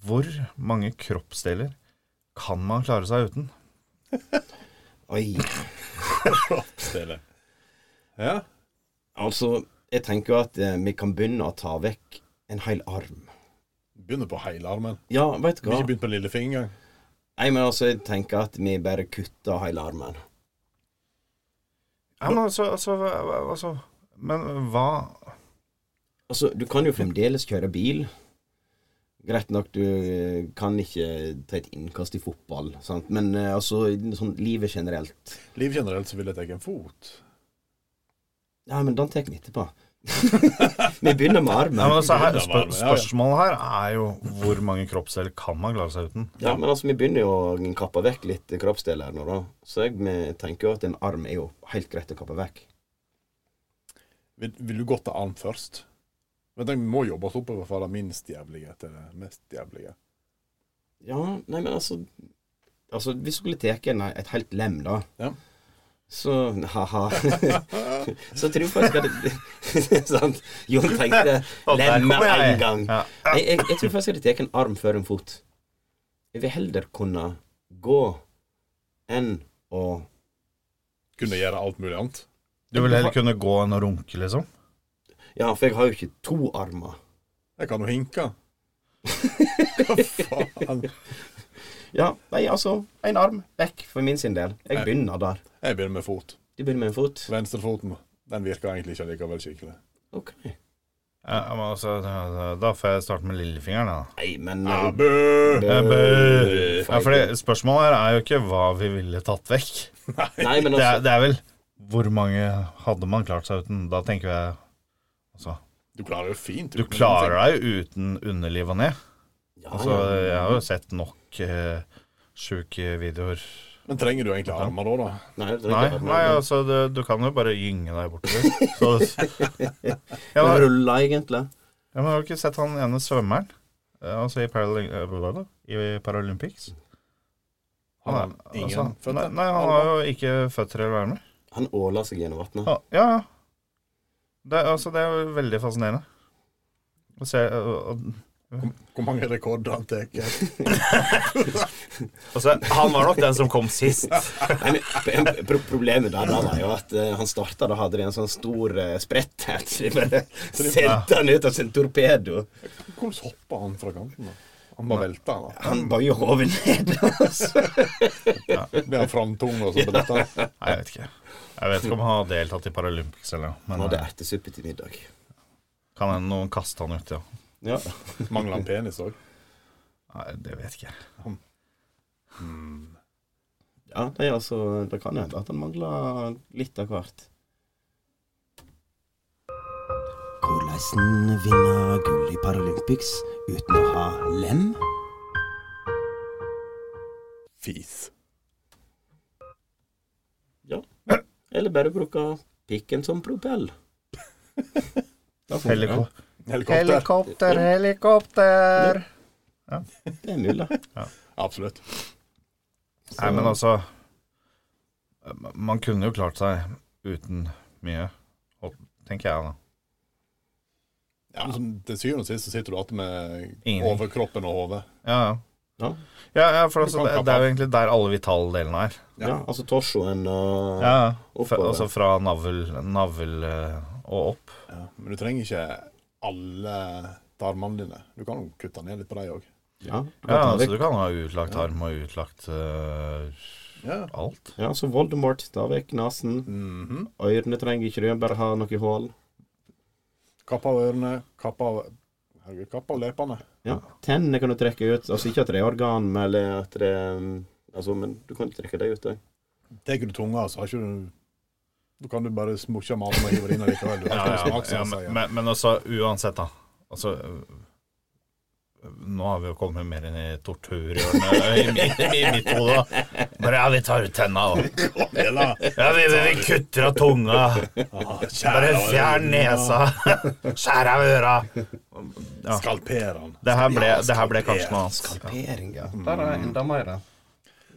Speaker 4: Hvor mange kroppsdeler kan man klare seg uten?
Speaker 5: Oi.
Speaker 3: Stille. Ja.
Speaker 5: Altså, jeg tenker jo at eh, vi kan begynne å ta vekk en hel arm.
Speaker 3: Begynner på hele armen.
Speaker 5: Ja, veit du
Speaker 3: Vi har
Speaker 5: hva.
Speaker 3: ikke begynt på lille finger engang.
Speaker 5: Nei, men altså, jeg tenker at vi bare kutter hele armen.
Speaker 4: Ja, men altså, altså, hva- hva- altså Men hva
Speaker 5: Altså, du kan jo fremdeles kjøre bil. Greit nok, du eh, kan ikke ta et innkast i fotball, sant? men eh, altså, sånn livet generelt
Speaker 3: Liv generelt så vil jeg ta en fot.
Speaker 5: Ja, men den tar vi etterpå. vi begynner med
Speaker 4: Nei, men
Speaker 5: armen.
Speaker 4: altså, her,
Speaker 3: det var
Speaker 4: spør
Speaker 3: det, ja, ja.
Speaker 4: spørsmålet her er jo hvor mange kroppsdeler kan man klare seg uten?
Speaker 5: Ja, men altså, vi begynner jo å kappe vekk litt kroppsdeler nå, da. Så jeg vi tenker jo at en arm er jo helt greit å kappe vekk.
Speaker 3: Vil, vil du gå til arm først? Men tenk, vi må jobbe oss oppover fra det minst jævlige til det mest jævlige.
Speaker 5: Ja, nei, men altså Altså, Hvis du skulle tatt et helt lem, da,
Speaker 3: Ja.
Speaker 5: så ha-ha Så tror jeg faktisk at det Sant? Jon tenkte
Speaker 4: Og der
Speaker 5: lem med
Speaker 4: kommer jeg.
Speaker 5: en gang.
Speaker 4: Ja.
Speaker 5: Jeg, jeg, jeg tror faktisk jeg hadde tatt en arm før en fot. Jeg vil heller kunne gå enn å
Speaker 3: Kunne gjøre alt mulig annet.
Speaker 4: Du vil heller kunne gå enn å runke, liksom?
Speaker 5: Ja, for jeg har jo ikke to armer.
Speaker 3: Jeg kan jo hinke. Hva faen?
Speaker 5: Ja, nei, altså, en arm vekk for min sin del. Jeg
Speaker 3: Nei.
Speaker 5: begynner der.
Speaker 3: Jeg begynner med fot.
Speaker 5: Du begynner med en fot.
Speaker 3: Venstrefoten. Den virker egentlig ikke likevel skikkelig.
Speaker 5: Ok.
Speaker 4: Ja, men altså, da- da får jeg starte med lillefingeren, da.
Speaker 5: Nei, men
Speaker 3: Ah, bø!
Speaker 5: Øh,
Speaker 4: Ja, men- Ja,
Speaker 5: Feil.
Speaker 4: fordi Spørsmålet her er jo ikke hva vi ville tatt vekk.
Speaker 5: Nei, men
Speaker 4: Det er,
Speaker 5: altså
Speaker 4: det er vel hvor mange hadde man klart seg uten? Da tenker jeg altså,
Speaker 3: Du klarer jo fint.
Speaker 4: Du klarer deg jo uten underliv og ned.
Speaker 5: ja,
Speaker 4: Altså,
Speaker 5: ja.
Speaker 4: jeg har jo sett nok eh, sjuke videoer.
Speaker 3: Men trenger du egentlig armer da, da?
Speaker 5: Nei, det er
Speaker 4: Nei,
Speaker 5: ikke armer,
Speaker 4: nei
Speaker 5: men-
Speaker 4: altså, du, du kan jo bare gynge deg bortover. Så, ja,
Speaker 5: men
Speaker 4: men,
Speaker 5: ruller, egentlig.
Speaker 4: ja, men har du ikke sett han ene svømmeren? Eh, Altså i, Paraly eh, hva da? I Paralympics?
Speaker 3: Har han
Speaker 4: er-
Speaker 3: ingen
Speaker 4: altså,
Speaker 3: føtter?
Speaker 4: Nei, nei, han har jo ikke føtter eller armer.
Speaker 5: Han åler seg gjennom vannet.
Speaker 4: Ja, Ah, ja. ja. Det, er- altså, det er jo veldig fascinerende. Å se, og, og,
Speaker 3: Hvor mange rekorder han tar?
Speaker 4: Altså, han var nok den som kom sist.
Speaker 5: Nei, men p- pro Problemet der da var jo at eh, han starta, da hadde de en sånn stor eh, spretthet. Så de bare sendte han ut av sin torpedo.
Speaker 3: Hvordan hopper han fra kanten? da? Han bare velter, han. da.
Speaker 5: Han bøyer hodet ned. Altså.
Speaker 3: Blir han framtung og så billetter?
Speaker 4: Nei, jeg vet ikke. Jeg vet ikke om han har deltatt i Paralympics eller noe.
Speaker 5: Han
Speaker 4: Men
Speaker 5: hadde
Speaker 4: eh,
Speaker 5: ertesuppe til middag.
Speaker 4: kan hende noen kaste han ut, ja.
Speaker 5: Ja.
Speaker 3: Mangler han penis òg?
Speaker 4: Nei, det vet jeg ikke.
Speaker 5: Ja, nei, altså, det kan hende at han mangler litt av hvert. Hvordan vinne gull i Paralympics uten å ha lem?
Speaker 3: Fis.
Speaker 5: Eller bare bruke pikken som propell? Da funker det.
Speaker 4: Helikopter,
Speaker 3: Helikopter.
Speaker 4: helikopter, helikopter.
Speaker 5: Det er mulig.
Speaker 3: Absolutt.
Speaker 4: Nei, men altså eh, Man kunne jo klart seg uten mye, og- tenker jeg da.
Speaker 3: Ja, men som- til syvende og sist så sitter du alltid med
Speaker 4: Ingenting.
Speaker 3: overkroppen og hodet.
Speaker 4: Ja, ja.
Speaker 5: Ja.
Speaker 4: Ja, ja, for altså,
Speaker 3: kan
Speaker 4: det,
Speaker 3: kappe
Speaker 4: det er
Speaker 3: av.
Speaker 4: jo egentlig der alle vitale delene er.
Speaker 5: Ja, altså torsoen og
Speaker 4: Ja, ja. Fra-
Speaker 5: oppover.
Speaker 4: altså fra navl, navl eh, og opp.
Speaker 3: Ja. Men du trenger ikke alle tarmene dine. Du kan jo kutte ned litt på dem òg.
Speaker 5: Ja,
Speaker 4: Ja,
Speaker 5: ja,
Speaker 4: altså Du kan ha utlagt arm og utlagt eh,
Speaker 3: Ja.
Speaker 4: alt.
Speaker 5: ja, så Voldemort tar vekk nesen.
Speaker 3: Mhm.
Speaker 5: Ørene trenger ikke du, bare ha noe hull.
Speaker 3: Kapp av ørene, kapp av Herregud, kapp av leppene.
Speaker 5: Ja, Tennene kan du trekke ut. Altså ikke at det er organ, men eller at det er Altså, men du kan trekke det ut òg.
Speaker 3: Tar du tunga, så har ikke du Da kan du bare smukke maten og hive det inn likevel. Du har
Speaker 4: Ja,
Speaker 3: ikke noe
Speaker 4: ja,
Speaker 3: smak, som
Speaker 4: ja,
Speaker 3: jeg sier.
Speaker 4: men, men også uansett, da. Altså Nå har vi jo kommet mer inn i torturhjørnet i, mitt- i mitt hode. da. Bare ja, vi tar ut tenna og Ja, vi, vi, vi kutter av tunga.
Speaker 3: Ah,
Speaker 4: Bare fjern nesa. Skjær av øra. Ja.
Speaker 3: Skalper han.
Speaker 4: Det her ble, det her ble kanskje noe annet.
Speaker 5: Pering, ja. Der er enda mer.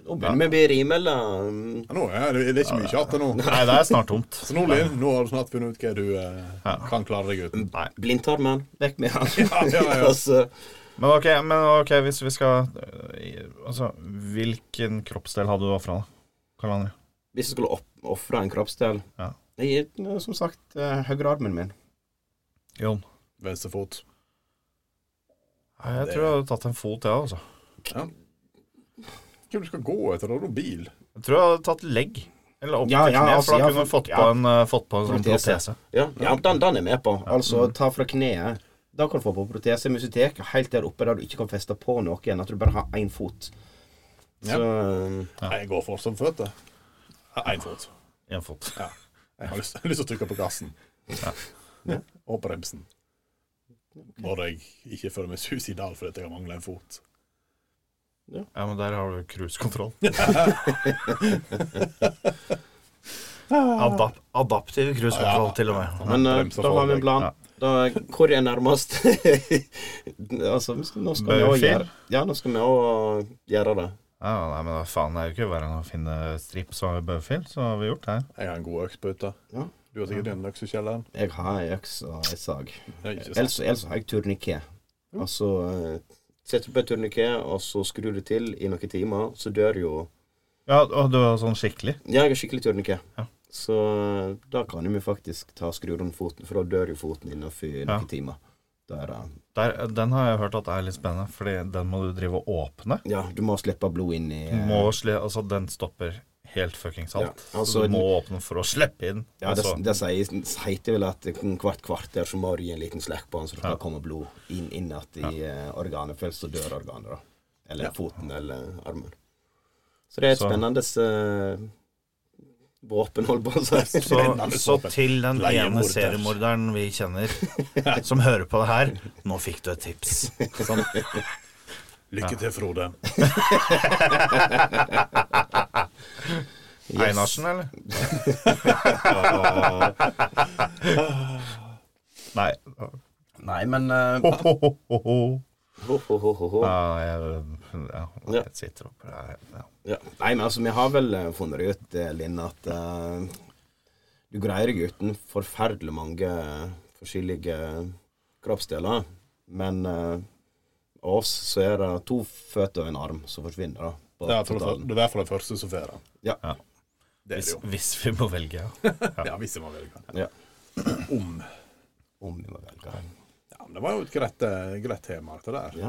Speaker 5: Nå begynner vi å bli rimelige. mm,
Speaker 3: Ja, nå er det, det er ikke mye kjatt nå.
Speaker 4: Nei, det er snart tomt.
Speaker 3: Så nå, Linn, nå har du snart funnet ut hva du eh, kan klare deg uten.
Speaker 4: Nei.
Speaker 5: Blindtarmen, vekk med han.
Speaker 3: Ja, ja, ja.
Speaker 5: altså,
Speaker 4: Men ok, men ok, hvis vi skal Altså, hvilken kroppsdel hadde du ofra, da? Karl André?
Speaker 5: hvis du skulle opp- ofre en kroppsdel
Speaker 4: Ja.
Speaker 5: Jeg gir som sagt eh, høyrearmen min.
Speaker 4: Jon?
Speaker 3: Venstre fot.
Speaker 4: Nei, jeg tror jeg hadde tatt en fot, jeg, altså.
Speaker 3: Hvem du skal gå etter? Har du noen bil?
Speaker 4: Jeg tror jeg hadde tatt legg. Eller opp
Speaker 5: Ja,
Speaker 4: til
Speaker 5: ja,
Speaker 4: kne,
Speaker 5: altså,
Speaker 4: for da
Speaker 5: ja,
Speaker 4: kunne du
Speaker 5: for-
Speaker 4: fått, på
Speaker 5: ja.
Speaker 4: en, eh, fått på en sånn
Speaker 5: Protese.
Speaker 4: protese.
Speaker 5: Ja, ja den, den er med på. Altså, ta fra kneet. Da kan du få på protese i musetek, helt der oppe der du ikke kan feste på noe igjen. At du bare har én fot.
Speaker 3: Ja.
Speaker 5: Så um,
Speaker 3: Nei, jeg går for som føtter. Én fot.
Speaker 4: En fot.
Speaker 3: Jeg har lyst, jeg har lyst til å trykke på gassen. Og bremsen. Når jeg ikke føler meg suicidal fordi at jeg har mangla en fot.
Speaker 4: Ja, men der har du cruisekontroll. Adap adaptiv cruisekontroll, til og med.
Speaker 5: Men eh,
Speaker 3: bremser
Speaker 5: da har vi
Speaker 3: forward.
Speaker 5: en plan.
Speaker 4: Ja.
Speaker 5: Da, hvor er nærmest? altså, vi skal- nå skal vi også
Speaker 4: Bøyfil?
Speaker 5: gjøre Ja, nå skal vi òg gjøre det.
Speaker 4: Ja, nei, men da faen, det er jo ikke verre enn å finne strips og bøffel, så har vi gjort det her.
Speaker 3: Jeg har en god øks på hytta.
Speaker 5: Ja.
Speaker 3: Du har sikkert en øks i kjelleren.
Speaker 5: Jeg har ei øks og ei sag.
Speaker 3: Det er ikke sant.
Speaker 5: Ellers, ellers har jeg turniké. Altså eh, Setter du på et turniké, og så skrur du til i noen timer, så dør jo
Speaker 4: Ja, og du var sånn skikkelig.
Speaker 5: Ja, jeg har skikkelig turniké.
Speaker 4: Ja.
Speaker 5: Så eh, da kan vi faktisk ta og skru rundt foten, for da dør jo foten innenfor noen timer. Da er det
Speaker 4: Der, den har jeg hørt at er litt spennende, fordi den må du drive og åpne.
Speaker 5: Ja, du må slippe blod inn i eh,
Speaker 4: Må sli, altså, den stopper helt fuckings alt.
Speaker 5: Ja, altså,
Speaker 4: så du må åpne for å slippe inn.
Speaker 5: Ja, det,
Speaker 4: altså,
Speaker 5: det sier, heter vel at hvert kvarter så må du gi en liten slekk på den, så det kan komme blod inn, inn at i eh, organet. For ellers så dør organet, da. Eller foten eller armen. Så det er et
Speaker 4: Så-
Speaker 5: spennende eh, våpen, holdt på å si.
Speaker 4: så, så til den ene seriemorderen vi kjenner, som hører på det her Nå fikk du et tips. Sånn.
Speaker 3: Lykke til, Frode.
Speaker 5: Yes.
Speaker 4: Einarsen, eller? Nei.
Speaker 5: Nei, men eh,
Speaker 4: Ho, ho, ho, ho, ho.
Speaker 5: ho, ho, ho, ho, ho.
Speaker 4: Ja, jeg, ja,
Speaker 5: Ja.
Speaker 4: jeg sitter oppe der. Ja.
Speaker 5: Ja. Nei, men altså, vi har vel eh, funnet det ut, eh, Linn, at eh, du greier deg uten forferdelig mange eh, forskjellige kroppsdeler. Men eh, av oss så er det to føtter og en arm som forsvinner, da. På
Speaker 3: Det er for det,
Speaker 5: totalen.
Speaker 3: det er for det første som får den.
Speaker 5: Ja.
Speaker 4: Ja.
Speaker 3: Det er
Speaker 4: Hvis,
Speaker 3: det jo.
Speaker 4: hvis vi må velge, ja.
Speaker 3: Ja, hvis jeg må velge.
Speaker 5: ja.
Speaker 3: Om.
Speaker 5: Om vi må velge.
Speaker 3: Ja, men det var jo et greit, eh, greit tema, dette der.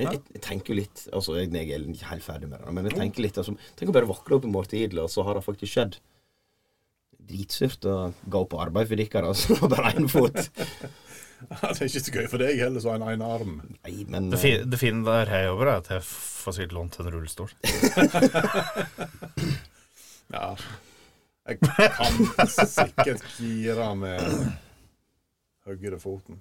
Speaker 5: Ja. Jeg, jeg, jeg tenker jo litt Altså, jeg, jeg er ikke helt ferdig med det, men jeg tenker litt altså, Tenk å bare våkne opp i morgen tidlig, og så har det faktisk skjedd. Dritsurt å gå på arbeid for dere, altså. Bare én fot.
Speaker 3: det er ikke så gøy for deg heller, så har en ene arm.
Speaker 5: Nei, men
Speaker 4: Det, fi, det fine der jeg jobber, er at jeg får sikkert lånt en rullestol.
Speaker 3: Ja. Jeg kan sikkert gire med høyrefoten.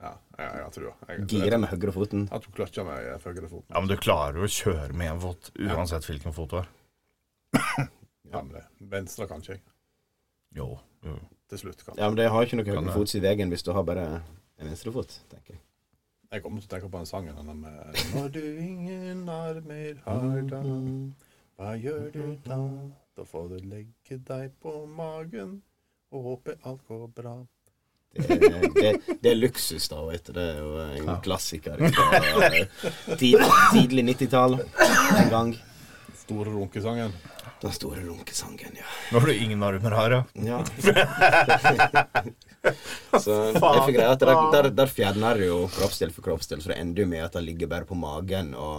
Speaker 3: Ja, jeg, jeg tror det. Jeg,
Speaker 5: eh,
Speaker 3: jeg,
Speaker 5: gire med høyrefoten.
Speaker 3: jeg tror kløtsja med høyrefoten.
Speaker 4: Ja, Men du klarer jo å kjøre med en fot uansett hvilken fot du har.
Speaker 3: Ja, men det. Venstre kan ikke jeg.
Speaker 4: Jo, jo.
Speaker 3: Til slutt kan jeg.
Speaker 5: Ja, men det har ikke noe
Speaker 4: Kan det.
Speaker 5: høyrefot i veien hvis du har bare en venstrefot, tenker jeg.
Speaker 3: Jeg kommer til å tenke på den sangen denne med Når du ingen armer har da, hva gjør du da? Da får du legge deg på magen og håpe alt går bra.
Speaker 5: Det er, eh, det, det er luksus, da, vet du. Det er jo en klassiker fra eh, tid, tidlig 90-tall en gang.
Speaker 3: Store runkesangen.
Speaker 5: Den store runkesangen, ja.
Speaker 4: Når du ingen armer har, ja.
Speaker 5: ja. Så det er for greia at der, der, der fjerner du jo kroppsdel for kroppsdel, så det ender jo med at den ligger bare på magen og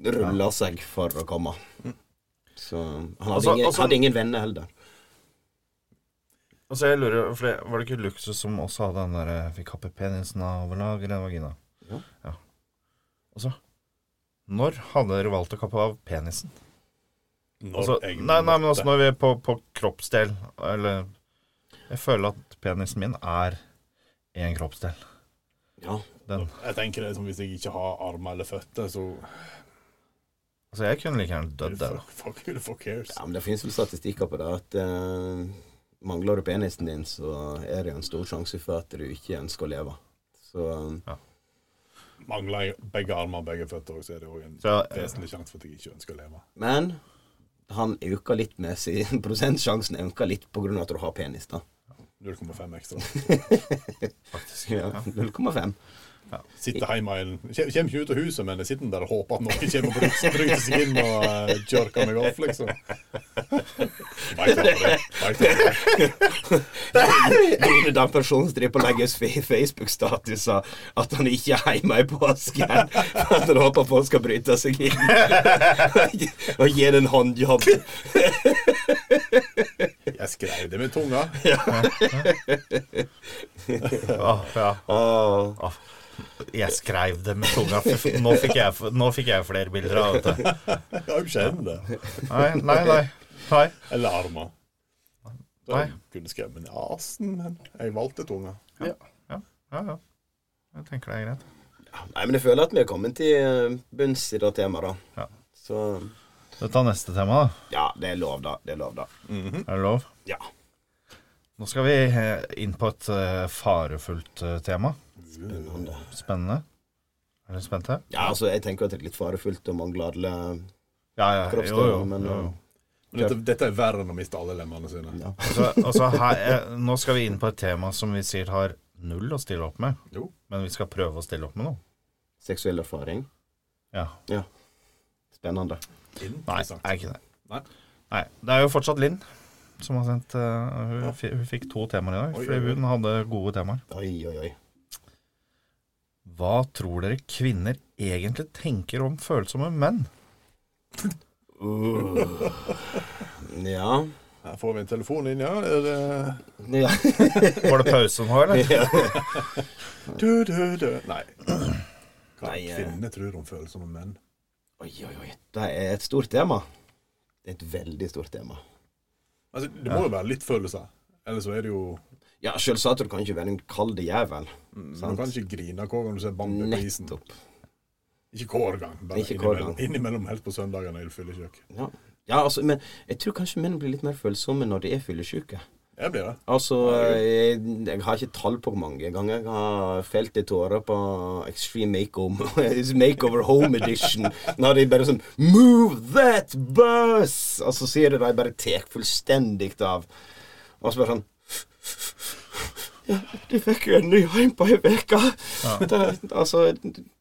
Speaker 5: ruller seg for å komme. Så han hadde,
Speaker 4: Altså-
Speaker 5: ingen,
Speaker 4: altså-
Speaker 5: hadde ingen venner heller.
Speaker 4: Altså, jeg lurer, for det- Var det ikke luksus som også hadde den der eh, Fikk happy penisen av lager en vagina?
Speaker 5: Ja.
Speaker 4: ja. Altså Når hadde dere valgt å kappe av penisen? Altså, nei, nei, men altså når vi er på, på kroppsdel, eller Jeg føler at penisen min er én kroppsdel.
Speaker 5: Ja.
Speaker 4: Den.
Speaker 3: Jeg tenker det er som hvis jeg ikke har armer eller føtter, så
Speaker 4: Altså, jeg kunne like gjerne dødd der. da.
Speaker 3: fuck, fuck, who the fuck cares?
Speaker 5: Ja, men det finnes vel statistikker på det at eh, mangler du penisen din, så er det jo en stor sjanse for at du ikke ønsker å leve. Så eh,
Speaker 3: Mangler jeg begge armer og begge føtter, så er det òg en
Speaker 4: Så, eh,
Speaker 3: vesentlig sjanse for at jeg ikke ønsker å leve.
Speaker 5: Men han øker litt med sin prosentsjansen øker litt på grunn av at du har penis, da.
Speaker 3: 0,5 ekstra.
Speaker 4: Faktisk.
Speaker 5: Ja, 0,5.
Speaker 3: Sitter hjemme i en Kjem kjem ikke ut av huset, men jeg sitter der og håper at noen kommer på ryggen og bryter seg inn og eh, jerker meg off, liksom. Vet aldri. Vet aldri.
Speaker 5: Bryne den personen som driver og legger ut fe- Facebook-statuser at han ikke er hjemme i påsken. For at han håper folk skal bryte seg inn og gi det en håndjobb.
Speaker 3: Jeg skrev det med tunga.
Speaker 4: Åh, Ah, ja.
Speaker 5: Åh.
Speaker 4: Åh. Jeg skrev det med tunga. Fy f- Nå fikk jeg, f- nå fikk jeg flere bilder av dette.
Speaker 3: Jeg har jo ikke hender.
Speaker 4: Nei, nei, nei. nei.
Speaker 3: Eller armer. Da
Speaker 4: Nei.
Speaker 3: kunne jeg skrevet med nesen, men jeg valgte tunga.
Speaker 4: Ja, ja. Jeg tenker det er greit.
Speaker 5: Nei, men jeg føler at vi er kommet til eh, bunns i det temaet, da.
Speaker 4: Ja.
Speaker 5: Så
Speaker 4: Du tar neste tema, da.
Speaker 5: ja, det er lov, da. Det er lov, da.
Speaker 4: Er det lov?
Speaker 5: Ja.
Speaker 4: Nå skal vi eh, inn på et eh, farefullt eh, tema.
Speaker 5: Spennende.
Speaker 4: Spennende. Er dere spente?
Speaker 5: Ja, altså, jeg tenker at det er litt farefullt å mangle alle
Speaker 4: Ja, ja. Jo,
Speaker 5: kroppsdeler,
Speaker 4: jo.
Speaker 5: men
Speaker 4: jo, jo.
Speaker 3: Men dette, dette er verre enn å miste alle lemmene sine.
Speaker 5: ja.
Speaker 4: Altså, altså her, eh, nå skal vi inn på et tema som vi sikkert har null å stille opp med.
Speaker 3: Jo.
Speaker 4: Men vi skal prøve å stille opp med noe.
Speaker 5: seksuell erfaring.
Speaker 4: Ja.
Speaker 5: Spennende.
Speaker 4: Nei,
Speaker 3: Interessant.
Speaker 4: er ikke det.
Speaker 3: Nei.
Speaker 4: Nei, Det er jo fortsatt Linn som har sendt eh, hun, fi- hun fikk to temaer i dag,
Speaker 3: Oi, oi,
Speaker 4: fordi
Speaker 3: oi.
Speaker 4: hun hadde gode temaer.
Speaker 5: Oi, oi, oi.
Speaker 4: Hva tror dere kvinner egentlig tenker om følsomme menn?
Speaker 5: Uh. Ja.
Speaker 3: Her får vi en telefon inn, ja. Er det
Speaker 5: ja.
Speaker 4: Var det pause nå, eller?
Speaker 3: du, du, du. Nei. Hva
Speaker 5: Nei, eh.
Speaker 3: kvinner tror om følsomme menn.
Speaker 5: Oi, oi, oi. Det er et stort tema. Det er et veldig stort tema.
Speaker 3: Altså, det må jo være litt følelser. Eller så er det jo
Speaker 5: Ja, selvsagt, du kan ikke være en kald jævel.
Speaker 3: Du kan ikke grine hver gang du ser bambu på isen.
Speaker 5: Nettopp.
Speaker 3: Ikke hver gang, bare
Speaker 5: Ikke hver
Speaker 3: innimellom, innimellom helt på søndagene i fyllekjøk.
Speaker 5: Ja. ja, altså, men jeg tror kanskje menn blir litt mer følsomme når de er fyllesyke.
Speaker 3: Jeg blir det.
Speaker 5: Altså, jeg, jeg har ikke tall på hvor mange ganger jeg har felt i tårer på Extreme Makeover, makeover Home Edition. Når de bare sånn Move that bus! Og så sier de de bare tar fullstendig av. Og så bare sånn ja, de fikk jo en ny heim på ei uke. Altså,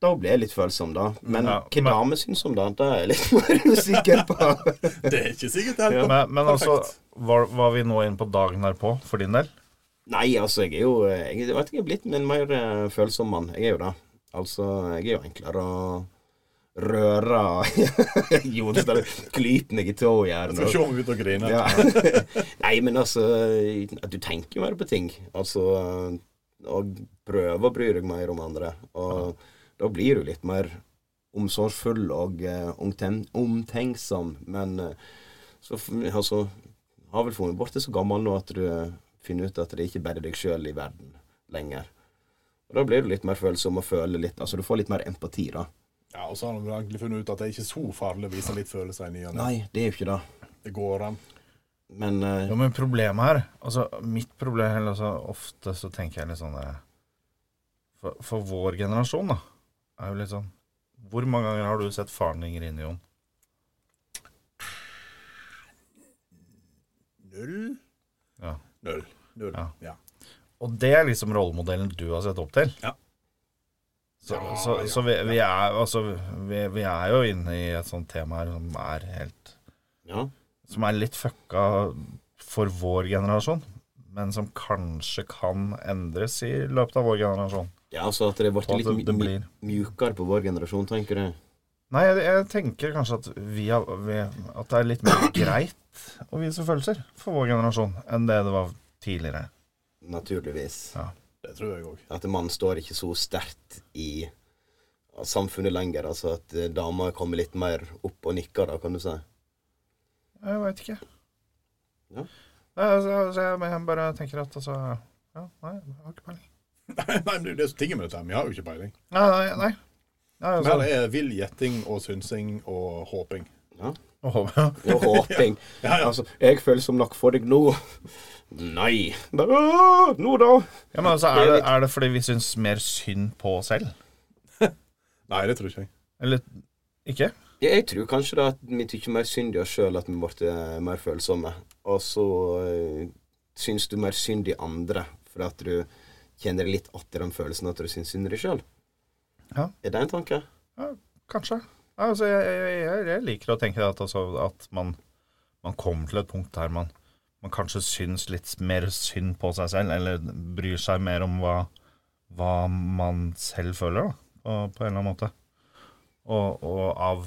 Speaker 5: da ble jeg litt følsom, da. Men
Speaker 4: Ja,
Speaker 5: hva
Speaker 4: men-
Speaker 5: damer syns om det, det er jeg litt mer usikker på.
Speaker 3: Det er ikke sikkert det. Ja.
Speaker 4: Men, men altså, var, var vi nå inne på dagen derpå, for din del?
Speaker 5: Nei, altså, jeg er jo Jeg, jeg vet ikke, jeg er blitt en mer eh, følsom mann. Jeg er jo det. Altså, jeg er jo enklere å røre Jonas, der klyper meg i
Speaker 3: Jeg skal
Speaker 5: tåhjernen.
Speaker 3: se om vi er ute og griner.
Speaker 5: Ja. Nei, men altså Du tenker jo mer på ting. Altså Og prøver å bry deg mer om andre. Og da blir du litt mer omsorgsfull og eh, omten omtenksom. Men eh, så f- altså, har vel funnet bort det så gammel nå at du eh, finner ut at det er ikke bare deg sjøl i verden lenger. Og Da blir du litt mer følsom og føler litt Altså, du får litt mer empati, da.
Speaker 3: Ja, og så har de egentlig funnet ut at det er ikke så farlig å vise litt følelser i ny og ne.
Speaker 5: Nei, det er jo ikke det.
Speaker 3: Det går an.
Speaker 5: Men eh,
Speaker 4: Jo, men problemet her Altså, mitt problem eller altså, Ofte så tenker jeg litt sånn eh, for, for vår generasjon, da, er jo litt sånn Hvor mange ganger har du sett faren din grine, Jon?
Speaker 3: Null.
Speaker 4: Ja.
Speaker 3: Null. Null.
Speaker 4: Ja.
Speaker 3: Ja.
Speaker 4: Og det er liksom rollemodellen du har sett opp til.
Speaker 3: Ja.
Speaker 4: Så,
Speaker 3: Ja,
Speaker 4: så,
Speaker 3: ja,
Speaker 4: så vi, vi er altså vi, vi er jo inne i et sånt tema her som er helt
Speaker 5: ja.
Speaker 4: Som er litt fucka for vår generasjon, men som kanskje kan endres i løpet av vår generasjon.
Speaker 5: Ja, altså at det ble
Speaker 4: Og at
Speaker 5: litt
Speaker 4: det- det
Speaker 5: my-
Speaker 4: blir-
Speaker 5: mjukere på vår generasjon, tenker du?
Speaker 4: Nei, jeg, jeg tenker kanskje at, vi har, vi, at det er litt mer greit å vise følelser for vår generasjon enn det det var tidligere.
Speaker 5: Naturligvis.
Speaker 4: Ja.
Speaker 3: Det tror jeg òg.
Speaker 5: At mannen står ikke så sterkt i samfunnet lenger. Altså at eh, damer kommer litt mer opp og nikker, da, kan du si.
Speaker 4: Jeg veit ikke.
Speaker 5: Ja.
Speaker 4: Nei, altså, altså, jeg, men jeg bare tenker at altså Ja, nei, jeg har ikke peiling.
Speaker 3: Nei, men det er jo det som er tingen med dette. her. Vi har jo ikke peiling.
Speaker 4: Nei, nei. nei. nei
Speaker 3: Men
Speaker 4: altså,
Speaker 3: det er vill gjetting og synsing og håping.
Speaker 4: Åh, ja.
Speaker 5: Og håping. Altså, jeg føler som nok for deg nå. Nei. Da, nå, da.
Speaker 4: ja, men altså, er det, er det fordi vi syns mer synd på oss selv?
Speaker 3: Nei, det tror ikke jeg.
Speaker 4: Eller ikke?
Speaker 5: Ja, jeg tror kanskje da at vi tykker mer synd i oss sjøl, at vi ble eh, mer følsomme. Og så øh, syns du mer synd i andre, for at du kjenner litt igjen den følelsen at du syns synd i deg sjøl.
Speaker 4: Ja.
Speaker 5: Er det en tanke?
Speaker 4: Ja, kanskje. Nei, altså, jeg, jeg, jeg, jeg liker å tenke at, altså, at man, man kommer til et punkt der man, man kanskje syns litt mer synd på seg selv, eller bryr seg mer om hva, hva man selv føler, da, på, på en eller annen måte. Og, og, av,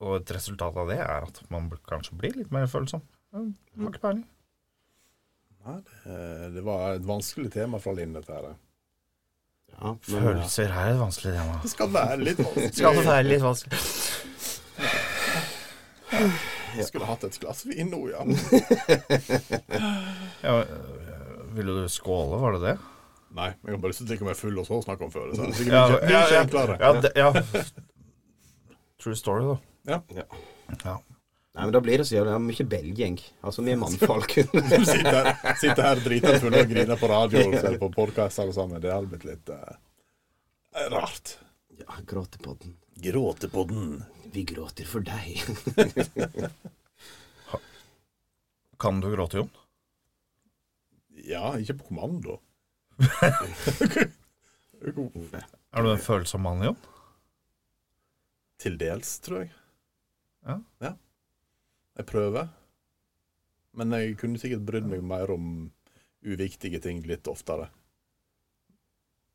Speaker 4: og et resultat av det er at man bl- kanskje blir litt mer følsom. Ja, Har ikke peiling.
Speaker 3: Nei, det, Eh, det var et vanskelig tema fra Linn, dette her.
Speaker 5: Ja, men,
Speaker 4: Følelser er et vanskelig tema.
Speaker 3: Det skal være litt
Speaker 4: Skal det
Speaker 3: vanskelig.
Speaker 4: være litt vanskelig?
Speaker 3: Jeg skulle hatt et glass vin nå, ja.
Speaker 4: Ja, øh, ville du skåle, var det det?
Speaker 3: Nei, jeg kan bare lyst til å drikke meg full og så snakke om følelser. Det er
Speaker 4: Ja,
Speaker 3: sikkert mye-
Speaker 4: ja,
Speaker 3: mye
Speaker 4: ja.
Speaker 3: enklere.
Speaker 4: Ja, det, ja. True story, da.
Speaker 5: nei, men da blir det så jævlig det er mye belging. Altså, vi er mannfolk.
Speaker 3: Du sitter, sitter her drita full og griner på radio eller på podkast alle sammen. Det hadde blitt litt eh, rart.
Speaker 5: ja, gråtepodden.
Speaker 3: Gråtepodden.
Speaker 5: Vi gråter for deg.
Speaker 4: Kan du gråte, Jon?
Speaker 3: Ja, ikke på kommando.
Speaker 4: Er du en følsom mann, Jon?
Speaker 3: Til dels, tror jeg.
Speaker 4: Ja.
Speaker 3: Jeg prøver. Men jeg kunne sikkert brydd meg mer om uviktige ting litt oftere.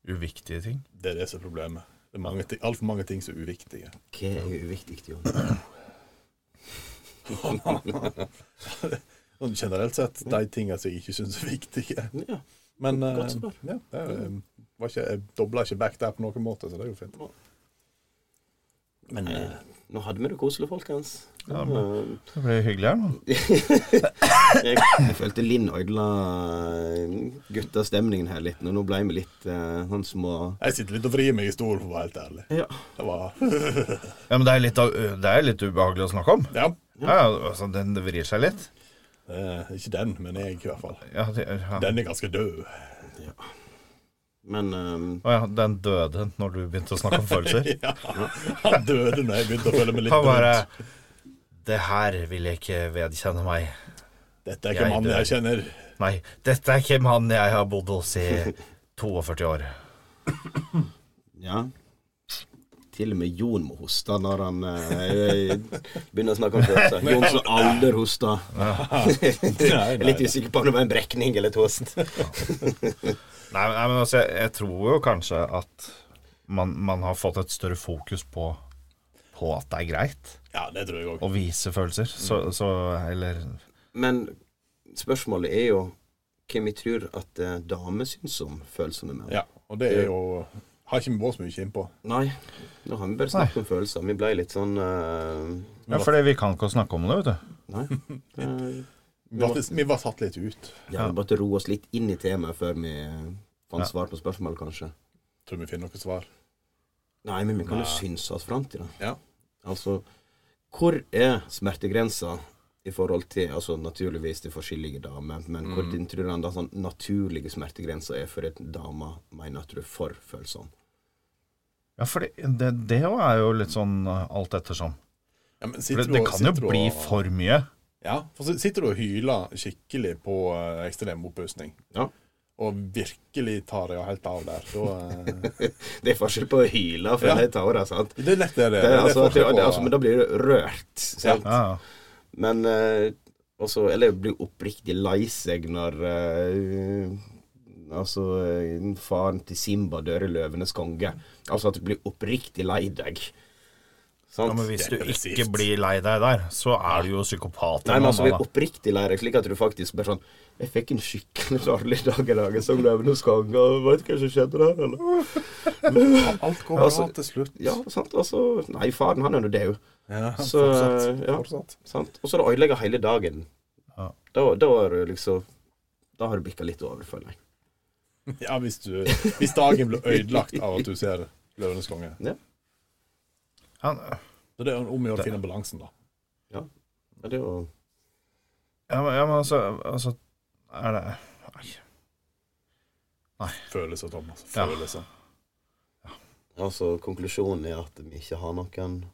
Speaker 4: Uviktige ting.
Speaker 3: Det er det som er problemet. Det er mange ting- altfor mange ting som er uviktige.
Speaker 5: Hva er uviktig, Jon?
Speaker 3: Sånn Generelt sett de tinga som jeg ikke syns er viktige.
Speaker 5: Ja.
Speaker 3: Men eh,
Speaker 5: Godt svar.
Speaker 3: ja, det er, eh, var ikke, jeg dobla ikke back der på noen måte, så det er jo fint. Men eh,
Speaker 5: Nå hadde vi det koselig, folkens.
Speaker 4: Ja, men- Det blir hyggelig her nå.
Speaker 5: Jeg, jeg følte Linn ødela eh, guttastemningen her litt. Nå nå ble vi litt eh, sånn små
Speaker 3: jeg sitter litt og vrir meg i stolen, for å være helt ærlig.
Speaker 5: Ja.
Speaker 3: Det var
Speaker 4: Ja, men det er litt, av- det er litt ubehagelig å snakke om.
Speaker 3: Ja.
Speaker 4: Ja, altså, den vrir seg litt.
Speaker 3: Eh, ikke den, men jeg, i hvert fall.
Speaker 4: Ja, det, ja.
Speaker 3: Den er ganske død.
Speaker 5: Men ehm,
Speaker 4: Å ja, den døde når du begynte å snakke om følelser.
Speaker 3: Ja, Han døde da jeg begynte å føle meg litt
Speaker 4: Han eh, bare
Speaker 3: rundt.
Speaker 4: Det her vil jeg ikke vedkjenne meg.
Speaker 3: Dette er
Speaker 4: Jeg
Speaker 3: ikke mannen
Speaker 4: dør.
Speaker 3: jeg kjenner.
Speaker 4: Nei, dette er ikke mannen jeg har bodd hos i 42 år.
Speaker 5: ja. Til og med Jon må hoste når han eh, begynner å snakke om følelser. Jon som aldri hoster.
Speaker 3: Nei,
Speaker 5: Jeg er
Speaker 3: nei,
Speaker 5: litt usikker på om det var en brekning eller et host.
Speaker 4: Nei, nei men altså, jeg, jeg tror jo kanskje at man, man har fått et større fokus på, på at det er greit
Speaker 3: Ja, det tror jeg òg.
Speaker 4: å vise følelser. Så, så eller
Speaker 5: Men spørsmålet er jo hvem vi tror at eh, damer syns om følsomme menn.
Speaker 3: Ja, og det er jo Har ikke vi vært så mye innpå.
Speaker 5: Nei, nå har vi bare snakket om følelser. Vi ble litt sånn eh,
Speaker 4: Ja, fordi vi kan ikke snakke om det, vet du.
Speaker 5: Nei. Eh,
Speaker 3: Vi var, vi var satt litt ut.
Speaker 5: Ja, vi måtte roe oss litt inn i temaet før vi fant svar på spørsmålet, kanskje.
Speaker 3: Tror vi finner noe svar.
Speaker 5: Nei, men vi kan jo synse oss fram til det.
Speaker 3: Ja.
Speaker 5: Altså, hvor er smertegrensa i forhold til Altså naturligvis til forskjellige damer, men hvor
Speaker 3: Mm.
Speaker 5: din tror han da sånn naturlige smertegrensa er for en dame mener at du er for følsom?
Speaker 4: Ja, fordi det det òg er jo litt sånn eh, alt ettersom.
Speaker 3: Ja, men
Speaker 4: For
Speaker 3: sitter
Speaker 4: det,
Speaker 3: du
Speaker 4: det
Speaker 3: og-
Speaker 4: kan jo
Speaker 3: sitter du
Speaker 4: bli
Speaker 3: og-
Speaker 4: for mye.
Speaker 3: Ja, for så sitter du og hyler skikkelig på eh, ekstrem oppussing.
Speaker 5: Ja.
Speaker 3: Og virkelig tar det helt av der. Da, eh,
Speaker 5: Det er forskjell på å hyle for
Speaker 3: Ja.
Speaker 5: de tårene, sant?
Speaker 3: det er lett det. det,
Speaker 5: Det er, altså, det,
Speaker 3: forskjell
Speaker 5: det,
Speaker 3: på-
Speaker 5: altså, men da blir du rørt. Sant?
Speaker 4: Ja, ja.
Speaker 5: Men eh, også Eller blir oppriktig lei seg når eh, Altså eh, faren til Simba dør i 'Løvenes konge'. Altså at du blir oppriktig lei deg. Sant?
Speaker 4: Ja, men hvis du
Speaker 3: Depressivt.
Speaker 4: ikke blir lei deg der, så er du jo psykopat.
Speaker 5: Nei, men
Speaker 4: eller
Speaker 5: altså
Speaker 4: noe
Speaker 5: blir
Speaker 4: annet,
Speaker 5: oppriktig lei deg, slik at du faktisk bare sånn 'Jeg fikk en skikkelig dårlig dag i dag. Jeg så 'Løvenes konge', og vet ikke hva som skjedde der', eller
Speaker 3: Alt går bra
Speaker 5: altså-
Speaker 3: til slutt.
Speaker 5: Ja, sant. Altså Nei, faren, han er nå død.
Speaker 3: Ja,
Speaker 5: Så eh,
Speaker 3: fortsatt.
Speaker 5: ja,
Speaker 3: fortsatt.
Speaker 5: sant. Og så det ødelegger hele dagen.
Speaker 4: Ja.
Speaker 5: Da, da er du liksom Da har du bikka litt over, føler jeg.
Speaker 3: Ja, hvis, du, hvis dagen blir ødelagt av at du ser Løvenes konge.
Speaker 4: Han,
Speaker 3: Så det er om å gjøre å finne balansen, da.
Speaker 5: Ja, det er jo
Speaker 4: ja, men- ja, men altså, altså Er det Nei.
Speaker 3: Følelser, Thomas.
Speaker 4: Ja.
Speaker 3: Følelser.
Speaker 5: Altså, konklusjonen er at vi ikke har noen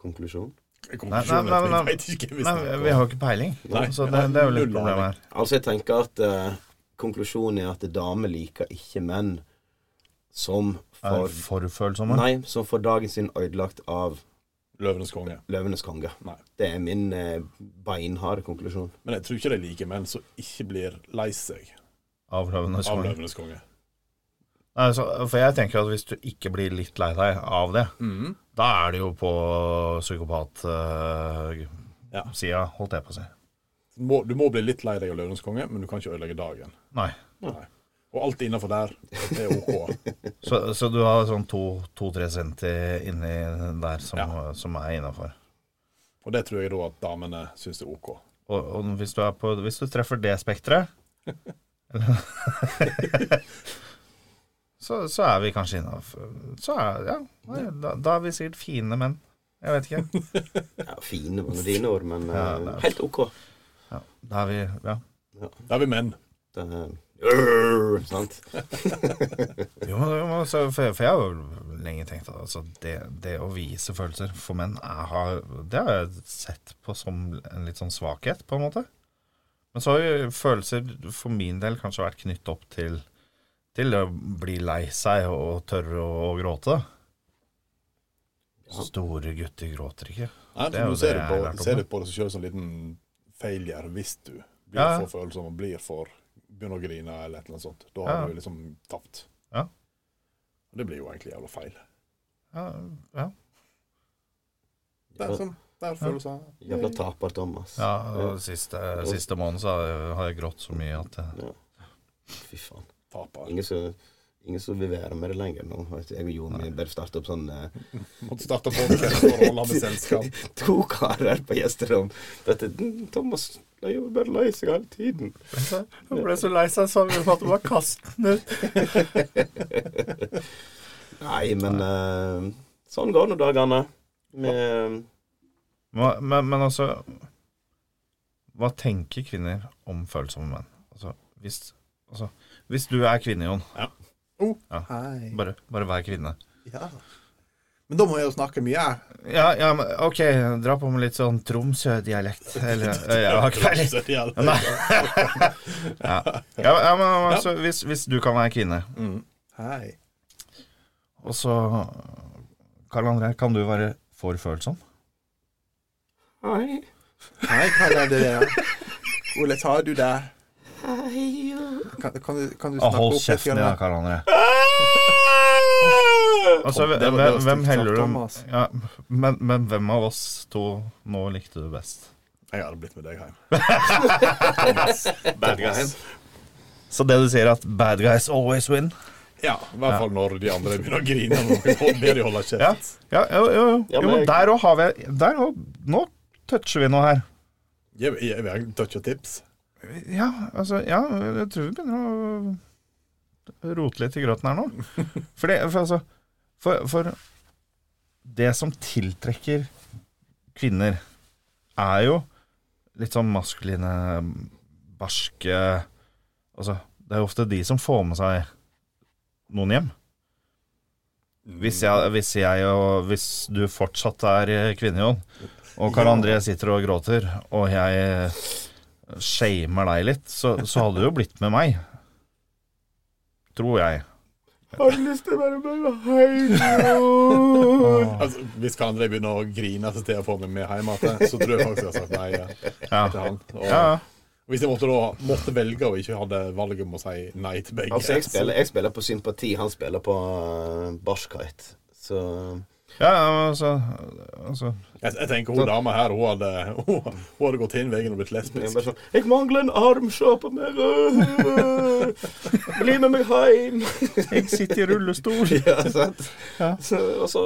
Speaker 5: konklusjon.
Speaker 3: Konklusjonen
Speaker 4: nei,
Speaker 3: er
Speaker 4: nei,
Speaker 3: at vi vet ikke hvis
Speaker 4: Nei,
Speaker 3: det er
Speaker 4: vi har jo ikke peiling.
Speaker 3: Nei.
Speaker 4: så det, det er jo litt
Speaker 3: Null
Speaker 4: problem her.
Speaker 5: Altså, jeg tenker at eh, konklusjonen er at damer liker ikke menn som
Speaker 4: Er
Speaker 5: for,
Speaker 4: for følsomme?
Speaker 5: Nei, som får dagen sin ødelagt av
Speaker 3: Løvenes konge.
Speaker 5: løvenes konge.
Speaker 3: Nei.
Speaker 5: Det er min eh, beinharde konklusjon.
Speaker 3: Men jeg tror ikke det er like menn som ikke blir lei seg
Speaker 4: Av Løvenes
Speaker 3: av
Speaker 4: konge.
Speaker 3: Løvenes konge.
Speaker 4: Nei, så, for jeg tenker at hvis du ikke blir litt lei deg av det, da er det jo på
Speaker 3: Ja.
Speaker 4: psykopat-sida, holdt jeg på å si.
Speaker 3: Må, du må bli litt lei deg av Løvenes konge, men du kan ikke ødelegge dagen.
Speaker 4: Nei.
Speaker 3: Og alt innafor der er OK.
Speaker 4: Så, så du har sånn to- to-tre center inni der som, som er innafor.
Speaker 3: Og det tror jeg da at damene syns er OK.
Speaker 4: Og, og hvis, du er på, hvis du treffer det spekteret eller- så, så er vi kanskje innafor. Så er Ja. Nei, da, da er vi sikkert fine menn. Jeg vet ikke.
Speaker 5: Ja, fine var nå dine ord, men eh,
Speaker 4: Ja, det er-
Speaker 5: helt OK.
Speaker 4: Ja, da er vi Ja.
Speaker 3: Da er vi menn.
Speaker 5: Det er, Urr, sant?
Speaker 4: Jo, men- jo, men altså, for, for jeg har jo lenge tenkt at altså, det, det å vise følelser for menn er, har, Det har jeg sett på som en litt sånn svakhet, på en måte. Men så har jo følelser for min del kanskje vært knyttet opp til Til å bli lei seg og tørre å, gråte. Store gutter gråter ikke.
Speaker 3: Nei,
Speaker 4: Det er
Speaker 3: for
Speaker 4: jo
Speaker 3: du ser jo
Speaker 4: det jeg har
Speaker 3: på,
Speaker 4: lært om
Speaker 3: ser
Speaker 4: det.
Speaker 3: jo på det selv som en liten failure hvis du blir
Speaker 4: Ja.
Speaker 3: for følsom og blir for begynner å grine eller et eller annet sånt. Da
Speaker 4: Ja.
Speaker 3: har du liksom tapt.
Speaker 4: Ja.
Speaker 3: Og det blir jo egentlig jævla feil.
Speaker 4: Ja, ja.
Speaker 3: Det er sånn, det er følelser.
Speaker 5: Jævla taper, Thomas.
Speaker 4: ja og siste, siste måneden så har jeg- har jeg grått så mye at eh,
Speaker 5: Fy faen.
Speaker 3: Taper.
Speaker 5: Ingen som, ingen som vil være med det lenger nå. Vet du, Jeg og Jon vi bør starte opp sånn eh,
Speaker 3: Måtte starte podcast for å holde med selskap.
Speaker 5: To karer på gjesterom. Dette mm, Thomas han er jo bare lei seg hele tiden.
Speaker 4: Jeg ble så lei seg så jeg ville at du bare kastet den ut.
Speaker 5: Nei, men eh, sånn går nå dagene. Med,
Speaker 4: Hva, men, men altså Hva tenker kvinner om følsomme menn? Altså, hvis, altså, hvis du er kvinne, Jon
Speaker 3: Hei.
Speaker 4: bare, bare vær kvinne.
Speaker 3: Ja. Men da må jeg jo snakke mye.
Speaker 4: Ja, ja, men OK, dra på med litt sånn Tromsø-dialekt. Eller Jeg har ikke peiling.
Speaker 3: Så det gjelder.
Speaker 4: Nei. Ja. Ja, men- ja, men altså, hvis, hvis du kan være kvinne,
Speaker 3: Mm. Hei.
Speaker 4: og så Karl André, kan du være for følsom?
Speaker 5: Hei.
Speaker 3: Hei, hva er det der? Hvordan har du det? Kan, kan, du, kan du
Speaker 4: Å, hold
Speaker 3: litt
Speaker 4: kjeften din,
Speaker 3: grann?
Speaker 4: da, Karl André. Altså,
Speaker 3: det
Speaker 4: hvem,
Speaker 3: var- altså. det var
Speaker 4: hvem
Speaker 3: stygt
Speaker 4: heller
Speaker 3: sagt,
Speaker 4: du
Speaker 3: Thomas.
Speaker 4: ja, men, men hvem av oss to nå likte du best?
Speaker 3: Jeg hadde blitt med deg hjem.
Speaker 6: Bad guyen.
Speaker 4: Så det du sier, at bad guys always win?
Speaker 3: Ja, i hvert fall når de andre begynner å grine. Når noen ber de holde kjeft.
Speaker 4: Ja, ja jo, jo, jo.
Speaker 5: Ja,
Speaker 4: jo
Speaker 5: men jeg-
Speaker 4: der òg har vi der også, Nå toucher vi noe her.
Speaker 3: Jeg, jeg, jeg vil touche tips.
Speaker 4: Ja, altså Ja, jeg tror vi begynner å rote litt i grøten her nå. For det For altså For, for det som tiltrekker kvinner, er jo litt sånn maskuline, barske Altså, det er jo ofte de som får med seg noen hjem. Hvis jeg, hvis jeg og Hvis du fortsatt er kvinne, Jon, og Karl André sitter og gråter, og jeg shamer deg litt, så, så hadde du jo blitt med meg. Tror jeg.
Speaker 5: Har du lyst til å være med meg hjem?
Speaker 3: Altså, hvis Karl André begynner å grine etter at jeg får meg med hjem igjen, så tror jeg faktisk jeg har sagt nei eh, til
Speaker 4: Ja.
Speaker 3: han. Og,
Speaker 4: Ja, ja.
Speaker 3: og hvis jeg måtte, da, måtte velge og ikke hadde valget om å si nei til begge
Speaker 5: Altså, jeg spiller, jeg spiller på sympati, han spiller på eh, barskhet. Så
Speaker 4: ja men altså, altså
Speaker 3: jeg, jeg tenker hun dama her, hun hadde, hun, hun hadde gått inn veien og blitt
Speaker 5: jeg er
Speaker 3: lesbisk.
Speaker 5: bare sånn Jeg mangler en arm, se på meg! øh, øh, Bli med meg hjem!
Speaker 4: Jeg sitter i rullestol.
Speaker 5: Ja, sant?
Speaker 4: Ja.
Speaker 5: Så, og så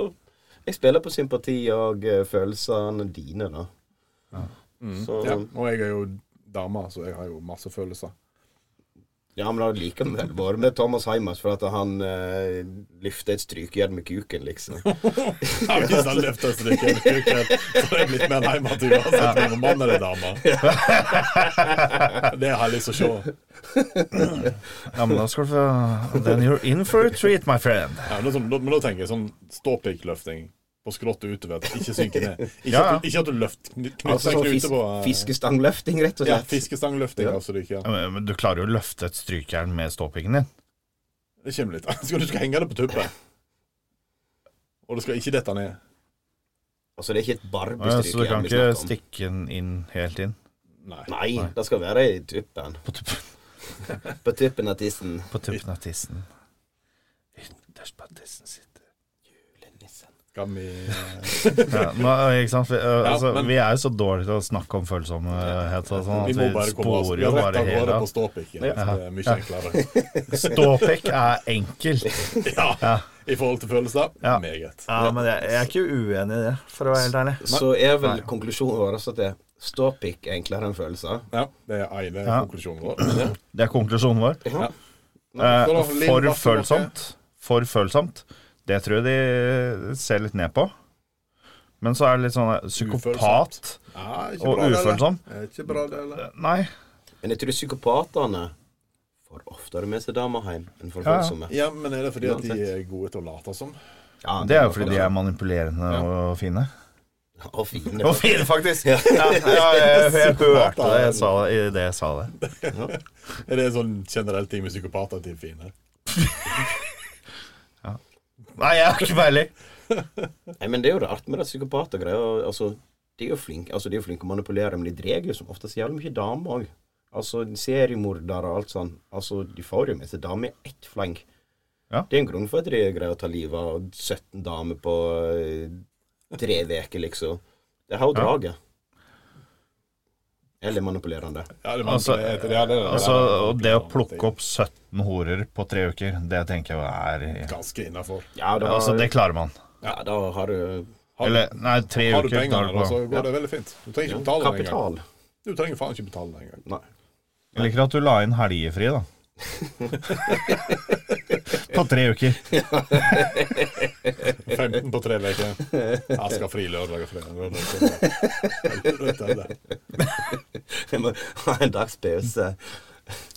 Speaker 5: Jeg spiller på sympati og eh, følelsene dine, da. Så
Speaker 4: Mm.
Speaker 3: Ja, og jeg er jo dame, så jeg har jo masse følelser.
Speaker 5: Ja, men det hadde likevel vært med Thomas Heimers, for at han uh, løfter et strykejern med kuken, liksom.
Speaker 3: Ja, Hvis han løfter stryken, så er det blitt mer en hjemmetur uansett om det er en mann eller dame. Det har jeg lyst til å se.
Speaker 4: Ja, men da skal du få Then you're in for a treat, my friend.
Speaker 3: Ja, men, da, sånn- da- men da tenker jeg sånn ståpikkløfting på skrått og utover. at det Ikke synke ned. Ikke,
Speaker 4: Ja, ja.
Speaker 3: at, du- ikke at du løft, kny- knytter
Speaker 5: Altså
Speaker 3: en
Speaker 5: sånn
Speaker 3: knute
Speaker 5: fis
Speaker 3: på eh,
Speaker 5: fiskestangløfting, rett og
Speaker 3: Ja,
Speaker 5: slett.
Speaker 3: fiskestangløfting.
Speaker 5: Ja.
Speaker 3: Altså, det, ikke,
Speaker 4: Ja, Men men du klarer jo å løfte et strykjern med ståpikken din.
Speaker 3: det kommer litt. Skal du skal henge det på tuppen. Og det skal ikke dette ned.
Speaker 5: Altså, det er ikke et
Speaker 4: Ja, så du
Speaker 5: barbestrykejern
Speaker 4: kan
Speaker 5: vi
Speaker 4: ikke
Speaker 5: snakker om.
Speaker 4: stikke den inn helt inn.
Speaker 3: Nei.
Speaker 5: Nei,
Speaker 4: Nei.
Speaker 5: det skal være i tuppen.
Speaker 4: På tuppen,
Speaker 5: På tuppen av tissen.
Speaker 4: på tuppen av tissen. Ytterst på tissen sitter
Speaker 3: Skal vi
Speaker 4: ja, nå, ikke sant? Vi, eh,
Speaker 3: Ja,
Speaker 4: altså,
Speaker 3: men-
Speaker 4: vi er jo så dårlige til å snakke om følsomhet og sånn
Speaker 3: Vi
Speaker 4: at
Speaker 3: må
Speaker 4: vi
Speaker 3: bare komme oss
Speaker 4: sporer
Speaker 3: Vi
Speaker 4: jo
Speaker 3: har rett
Speaker 4: bare
Speaker 3: av
Speaker 4: hele
Speaker 3: gårde på ståpikken.
Speaker 4: Ja.
Speaker 3: så Det er mye enklere.
Speaker 4: Ståpikk er enkelt.
Speaker 3: Ja, I forhold til følelser
Speaker 4: Ja.
Speaker 3: meget.
Speaker 7: Ja, men jeg, jeg er ikke uenig i det, for å være helt ærlig.
Speaker 5: Så er vel konklusjonen vår også at det ståpikk er enklere enn følelser.
Speaker 3: Ja, det er ene
Speaker 4: Ja.
Speaker 3: konklusjonen vår.
Speaker 4: Det er konklusjonen vår.
Speaker 5: Ja.
Speaker 3: Så da,
Speaker 4: Eh,
Speaker 3: Linn,
Speaker 4: for
Speaker 3: hva skal dere-
Speaker 4: følsomt. For følsomt. Det tror jeg de ser litt ned på. Men så er det litt sånn eh, psykopat
Speaker 3: Ja, ikke
Speaker 4: og
Speaker 3: bra, det, eller?
Speaker 4: ufølsom.
Speaker 3: Er Ikke bra, det, eller?
Speaker 4: Nei.
Speaker 5: Men jeg tror psykopatene får oftere med seg damer hjem enn for
Speaker 4: Ja, ja.
Speaker 5: følsomme.
Speaker 3: Ja, men er det fordi at de
Speaker 5: Uansett.
Speaker 3: er gode til å late som?
Speaker 5: Ja,
Speaker 4: Det er jo fordi de er manipulerende
Speaker 3: Ja.
Speaker 4: og fine.
Speaker 5: Og fine.
Speaker 7: Og fine, faktisk. Ja,
Speaker 4: jeg, hørte det jeg sa det, idet jeg sa det.
Speaker 3: Er det en sånn generell ting med psykopater at de er fine?
Speaker 4: Nei, jeg har ikke peiling.
Speaker 5: Nei, men det er jo det artige med det psykopater greier. og, Altså, de er jo flinke altså, de er jo flinke å manipulere, men de drar jo som oftest jævlig mye damer òg. Altså, seriemordere og alt sånn. Altså, de får jo med seg damer i ett fleng.
Speaker 4: Ja.
Speaker 5: Det er en grunn for at de greier å ta livet av 17 damer på eh, tre uker, liksom. Det har jo draget. Eller manipulerende.
Speaker 3: Ja, det er
Speaker 4: Altså,
Speaker 3: vanskelig. Jeg- ja, det er-
Speaker 4: Altså, og det å plukke opp 17 horer på tre uker, det tenker jeg er
Speaker 3: Ganske innafor.
Speaker 5: Ja, da,
Speaker 4: Altså, det klarer man.
Speaker 5: ja, da har du
Speaker 4: Eller, nei, tre
Speaker 3: Har du
Speaker 4: uker
Speaker 3: penger,
Speaker 4: tar du
Speaker 3: da, så
Speaker 5: Altså,
Speaker 4: på.
Speaker 3: altså, går det veldig fint. Du trenger
Speaker 5: ja,
Speaker 3: ikke betale den engang.
Speaker 5: kapital.
Speaker 3: Du trenger faen ikke betale den engang.
Speaker 5: Nei.
Speaker 4: Jeg liker at du la inn helgefri, da. på tre uker.
Speaker 3: 15 på tre uker. Jeg skal ha fri lørdag og fredag. Lørdag og fredag. Det er det.
Speaker 5: Jeg må ha en dags pause.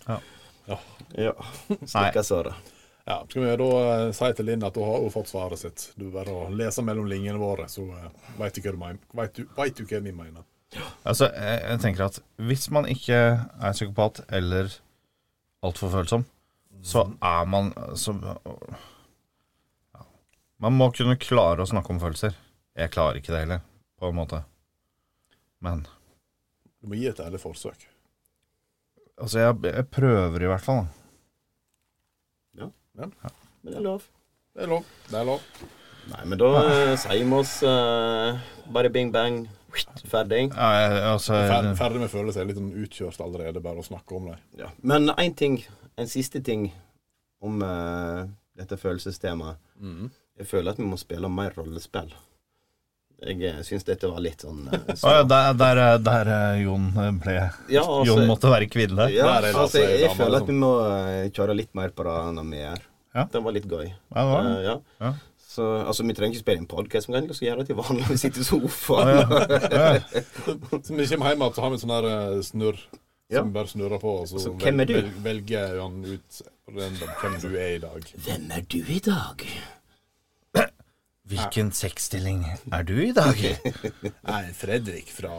Speaker 4: Ja.
Speaker 3: Ja.
Speaker 5: ja. Stikkes av, da.
Speaker 3: Ja, skal vi da eh, si til Linn at hun har jo fått svaret sitt. Du bare å lese mellom linjene våre, så veit du hva du mener. Vet du, vet du hva vi mener.
Speaker 4: Altså, jeg, jeg tenker at hvis man ikke er psykopat eller altfor følsom,
Speaker 5: Mm.
Speaker 4: så er man så, ja. Man må kunne klare å snakke om følelser. Jeg klarer ikke det heller, på en måte. Men
Speaker 3: Du må gi et ærlig forsøk.
Speaker 4: altså, jeg, jeg prøver i hvert fall. da.
Speaker 5: Men det er lov.
Speaker 3: Det er lov. Det er lov.
Speaker 5: Nei, men da eh, sier vi oss eh, bare bing bang, ferdig.
Speaker 4: Ja, jeg, altså,
Speaker 3: Fer, ferdig med følelser. Jeg er Litt sånn utkjørt allerede, bare å snakke om det.
Speaker 5: Ja. Men én ting, en siste ting om eh, dette følelsestemaet.
Speaker 3: Mm.
Speaker 5: Jeg føler at vi må spille mer rollespill. Jeg eh, syns dette var litt sånn eh,
Speaker 4: Å ja, der, der, eh, der eh, Jon eh, ble
Speaker 5: Ja, altså-
Speaker 4: Jon måtte være kvinne.
Speaker 5: Ja,
Speaker 3: Der er det
Speaker 5: altså,
Speaker 3: altså
Speaker 5: jeg, jeg
Speaker 3: damer,
Speaker 5: føler
Speaker 3: liksom.
Speaker 5: at vi må eh, kjøre litt mer på det når vi er
Speaker 4: Ja.
Speaker 5: Det var litt gøy.
Speaker 4: Ja, det var det.
Speaker 5: Eh, ja.
Speaker 4: Ja.
Speaker 5: Så, altså, vi trenger ikke spille inn podkast, vi kan liksom gjøre det til vanlig. Vi sitter i
Speaker 4: Å,
Speaker 5: sofaen.
Speaker 4: ja. Ja.
Speaker 3: Så når vi kommer hjem igjen, så har vi en sånn her eh, snurr.
Speaker 5: Ja.
Speaker 3: Som vi bare snurrer på, og så,
Speaker 5: Altså, hvem er du?
Speaker 3: vel- velger han ut random hvem du er i dag.
Speaker 5: Hvem er du i dag?
Speaker 4: Hvilken sexstilling er du i dag?
Speaker 3: Nei, Fredrik fra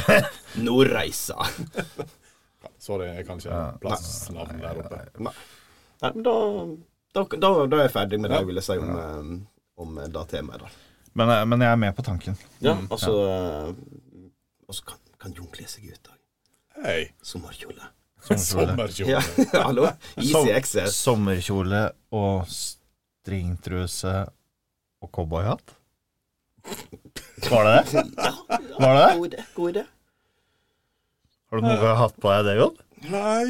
Speaker 5: eh, Nordreisa.
Speaker 3: Sorry, jeg kan ikke plassnavn der oppe.
Speaker 5: Nei, men da, da, da, da er jeg ferdig med det jeg ville si om, eh, om det temaet. da.
Speaker 4: Men, eh, men jeg er med på tanken.
Speaker 5: Ja, altså eh, Og så kan, kan Jon kle seg ut òg.
Speaker 3: Hei,
Speaker 5: Sommerkjole.
Speaker 3: sommerkjole.
Speaker 5: Ja, hallo? Easy access.
Speaker 4: Sommerkjole og stringtruse og cowboyhatt? Var det det? Var det det?
Speaker 5: God idé. God idé.
Speaker 4: Har du noen gang hatt på deg det, Jon?
Speaker 3: Nei,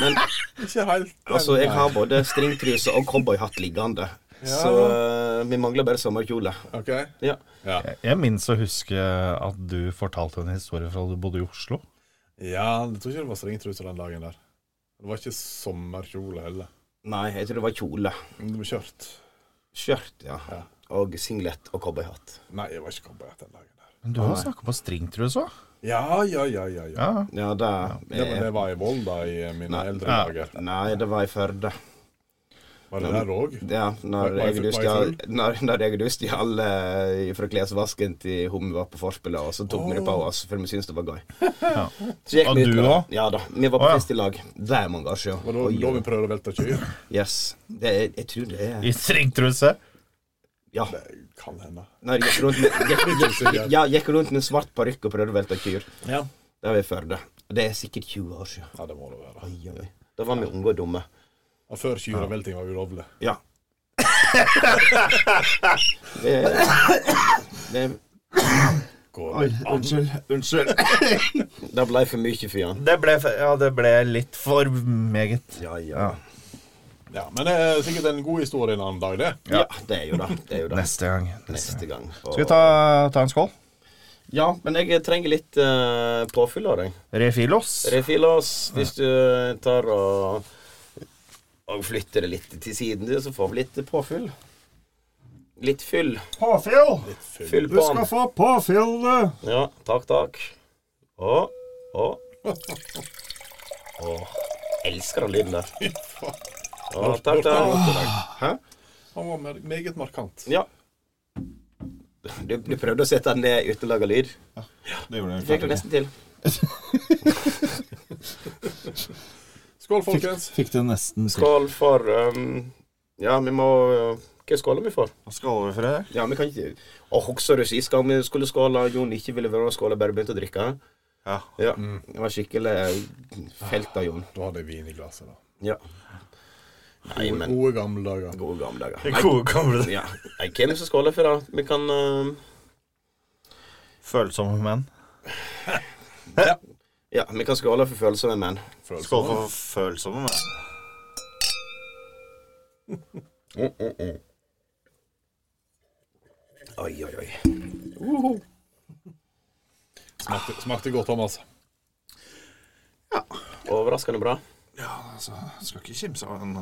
Speaker 5: Men
Speaker 3: ikke helt.
Speaker 5: altså, jeg har både stringtruse og cowboyhatt liggende. Så eh, vi mangler bare sommerkjole.
Speaker 3: OK.
Speaker 5: Ja.
Speaker 3: Ja.
Speaker 4: Jeg- Jeg minnes å huske at du fortalte en historie fra da du bodde i Oslo.
Speaker 3: ja, jeg tror ikke det var stringtruse den dagen der. Det var ikke sommerkjole heller.
Speaker 5: Nei, jeg tror det var kjole.
Speaker 3: Det var skjørt.
Speaker 5: Skjørt, ja.
Speaker 3: Ja.
Speaker 5: Og singlet og cowboyhatt.
Speaker 3: Nei, jeg var ikke cowboy den dagen der.
Speaker 4: Men du har snakka på stringtruse òg.
Speaker 3: Ja, ja, ja, ja. ja.
Speaker 4: Ja.
Speaker 5: Ja, det,
Speaker 3: Det, men det var i Volda i eh, mine
Speaker 5: Nei.
Speaker 3: eldre
Speaker 4: Ja.
Speaker 3: dager.
Speaker 5: Nei, det var i Førde.
Speaker 3: Var det der òg?
Speaker 5: Ja, når
Speaker 3: Var- var i
Speaker 5: jeg og du
Speaker 3: Før- var i
Speaker 5: stjal Når, når jeg og du stjal eh, fra klesvasken til hun vi var på forspillet, og så tok vi det på oss fordi vi syntes det var gøy. Så gikk
Speaker 4: Og
Speaker 5: vi ut
Speaker 4: du
Speaker 5: med det.
Speaker 4: også?
Speaker 5: Ja da. Vi var på
Speaker 4: Å, ja.
Speaker 5: fest i lag. Det er mange år siden.
Speaker 3: Var det
Speaker 5: Oi,
Speaker 3: da
Speaker 5: oi.
Speaker 3: vi prøvde å velte kyr?
Speaker 5: Yes. Det er, jeg tror det er
Speaker 4: I stringtruse.
Speaker 5: Ja.
Speaker 3: Det kan hende.
Speaker 5: Når jeg gikk rundt med, gikk, gikk,
Speaker 3: usikker.
Speaker 5: ja, gikk rundt med svart parykk og prøvde å velte kyr.
Speaker 3: Ja.
Speaker 5: Det var i Førde. Og Det er sikkert 20 år siden.
Speaker 3: Ja, det må det være.
Speaker 5: Oi, oi. Da var vi unge og dumme.
Speaker 3: Ja, Før kyravelting var ulovlig.
Speaker 5: Ja. Det, det,
Speaker 3: Går
Speaker 1: Oi, unnskyld. Unnskyld.
Speaker 5: det ble for mye for han.
Speaker 4: Det ble, fe- ja, det ble litt for meget.
Speaker 5: Ja, ja.
Speaker 3: Ja, men det er sikkert en god historie en annen dag, det.
Speaker 5: Ja, det er jo det. Det er jo det.
Speaker 4: Neste gang. Neste.
Speaker 5: Neste gang. Og-
Speaker 4: Skal vi ta, ta en skål?
Speaker 5: Ja, men jeg trenger litt eh, påfyll av deg.
Speaker 4: Refilos.
Speaker 5: Refil oss hvis du eh, tar og, og flytter det litt til siden, du, så får vi litt påfyll. Litt fyll.
Speaker 4: Påfyll!
Speaker 5: Fyll på den.
Speaker 4: få påfyll, du.
Speaker 5: Ja, takk, takk. Å, å. Å, elsker den lyden der. Å, takk, takk. Hæ?
Speaker 3: Han var mer- meget markant.
Speaker 5: Ja. Du, du prøvde å sette den ned uten å lage lyd.
Speaker 4: Det gjorde
Speaker 5: Du fikk det nesten til.
Speaker 3: Skål, folkens.
Speaker 1: Fikk det nesten til.
Speaker 5: Skål for um, Ja, vi må uh, Hva skåler vi for?
Speaker 4: Skål for det.
Speaker 5: Ja, vi kan ikke Og husker du sist gang vi skulle skåle, Jon ikke ville være med og skåle, bare begynte å drikke?
Speaker 1: Ja.
Speaker 5: Ja. Det var skikkelig felt av Jon.
Speaker 3: Da hadde jeg vin i glasset, da.
Speaker 5: Ja. Nei, men
Speaker 3: Gode gamle dager.
Speaker 5: Gode gamle dager.
Speaker 1: Den gode gamle
Speaker 5: Ja. Nei, hvem er det som skåler for det? Vi kan uh,
Speaker 4: Følsomme menn.
Speaker 5: Ja, vi kan skåle for følsomme menn.
Speaker 1: Skål for følsomme menn.
Speaker 5: Oi, oi, oi.
Speaker 3: Smakte, smakte godt, Thomas.
Speaker 5: Overraskende bra.
Speaker 1: Ja, altså, skal ikke kimse av
Speaker 5: eh,
Speaker 1: en,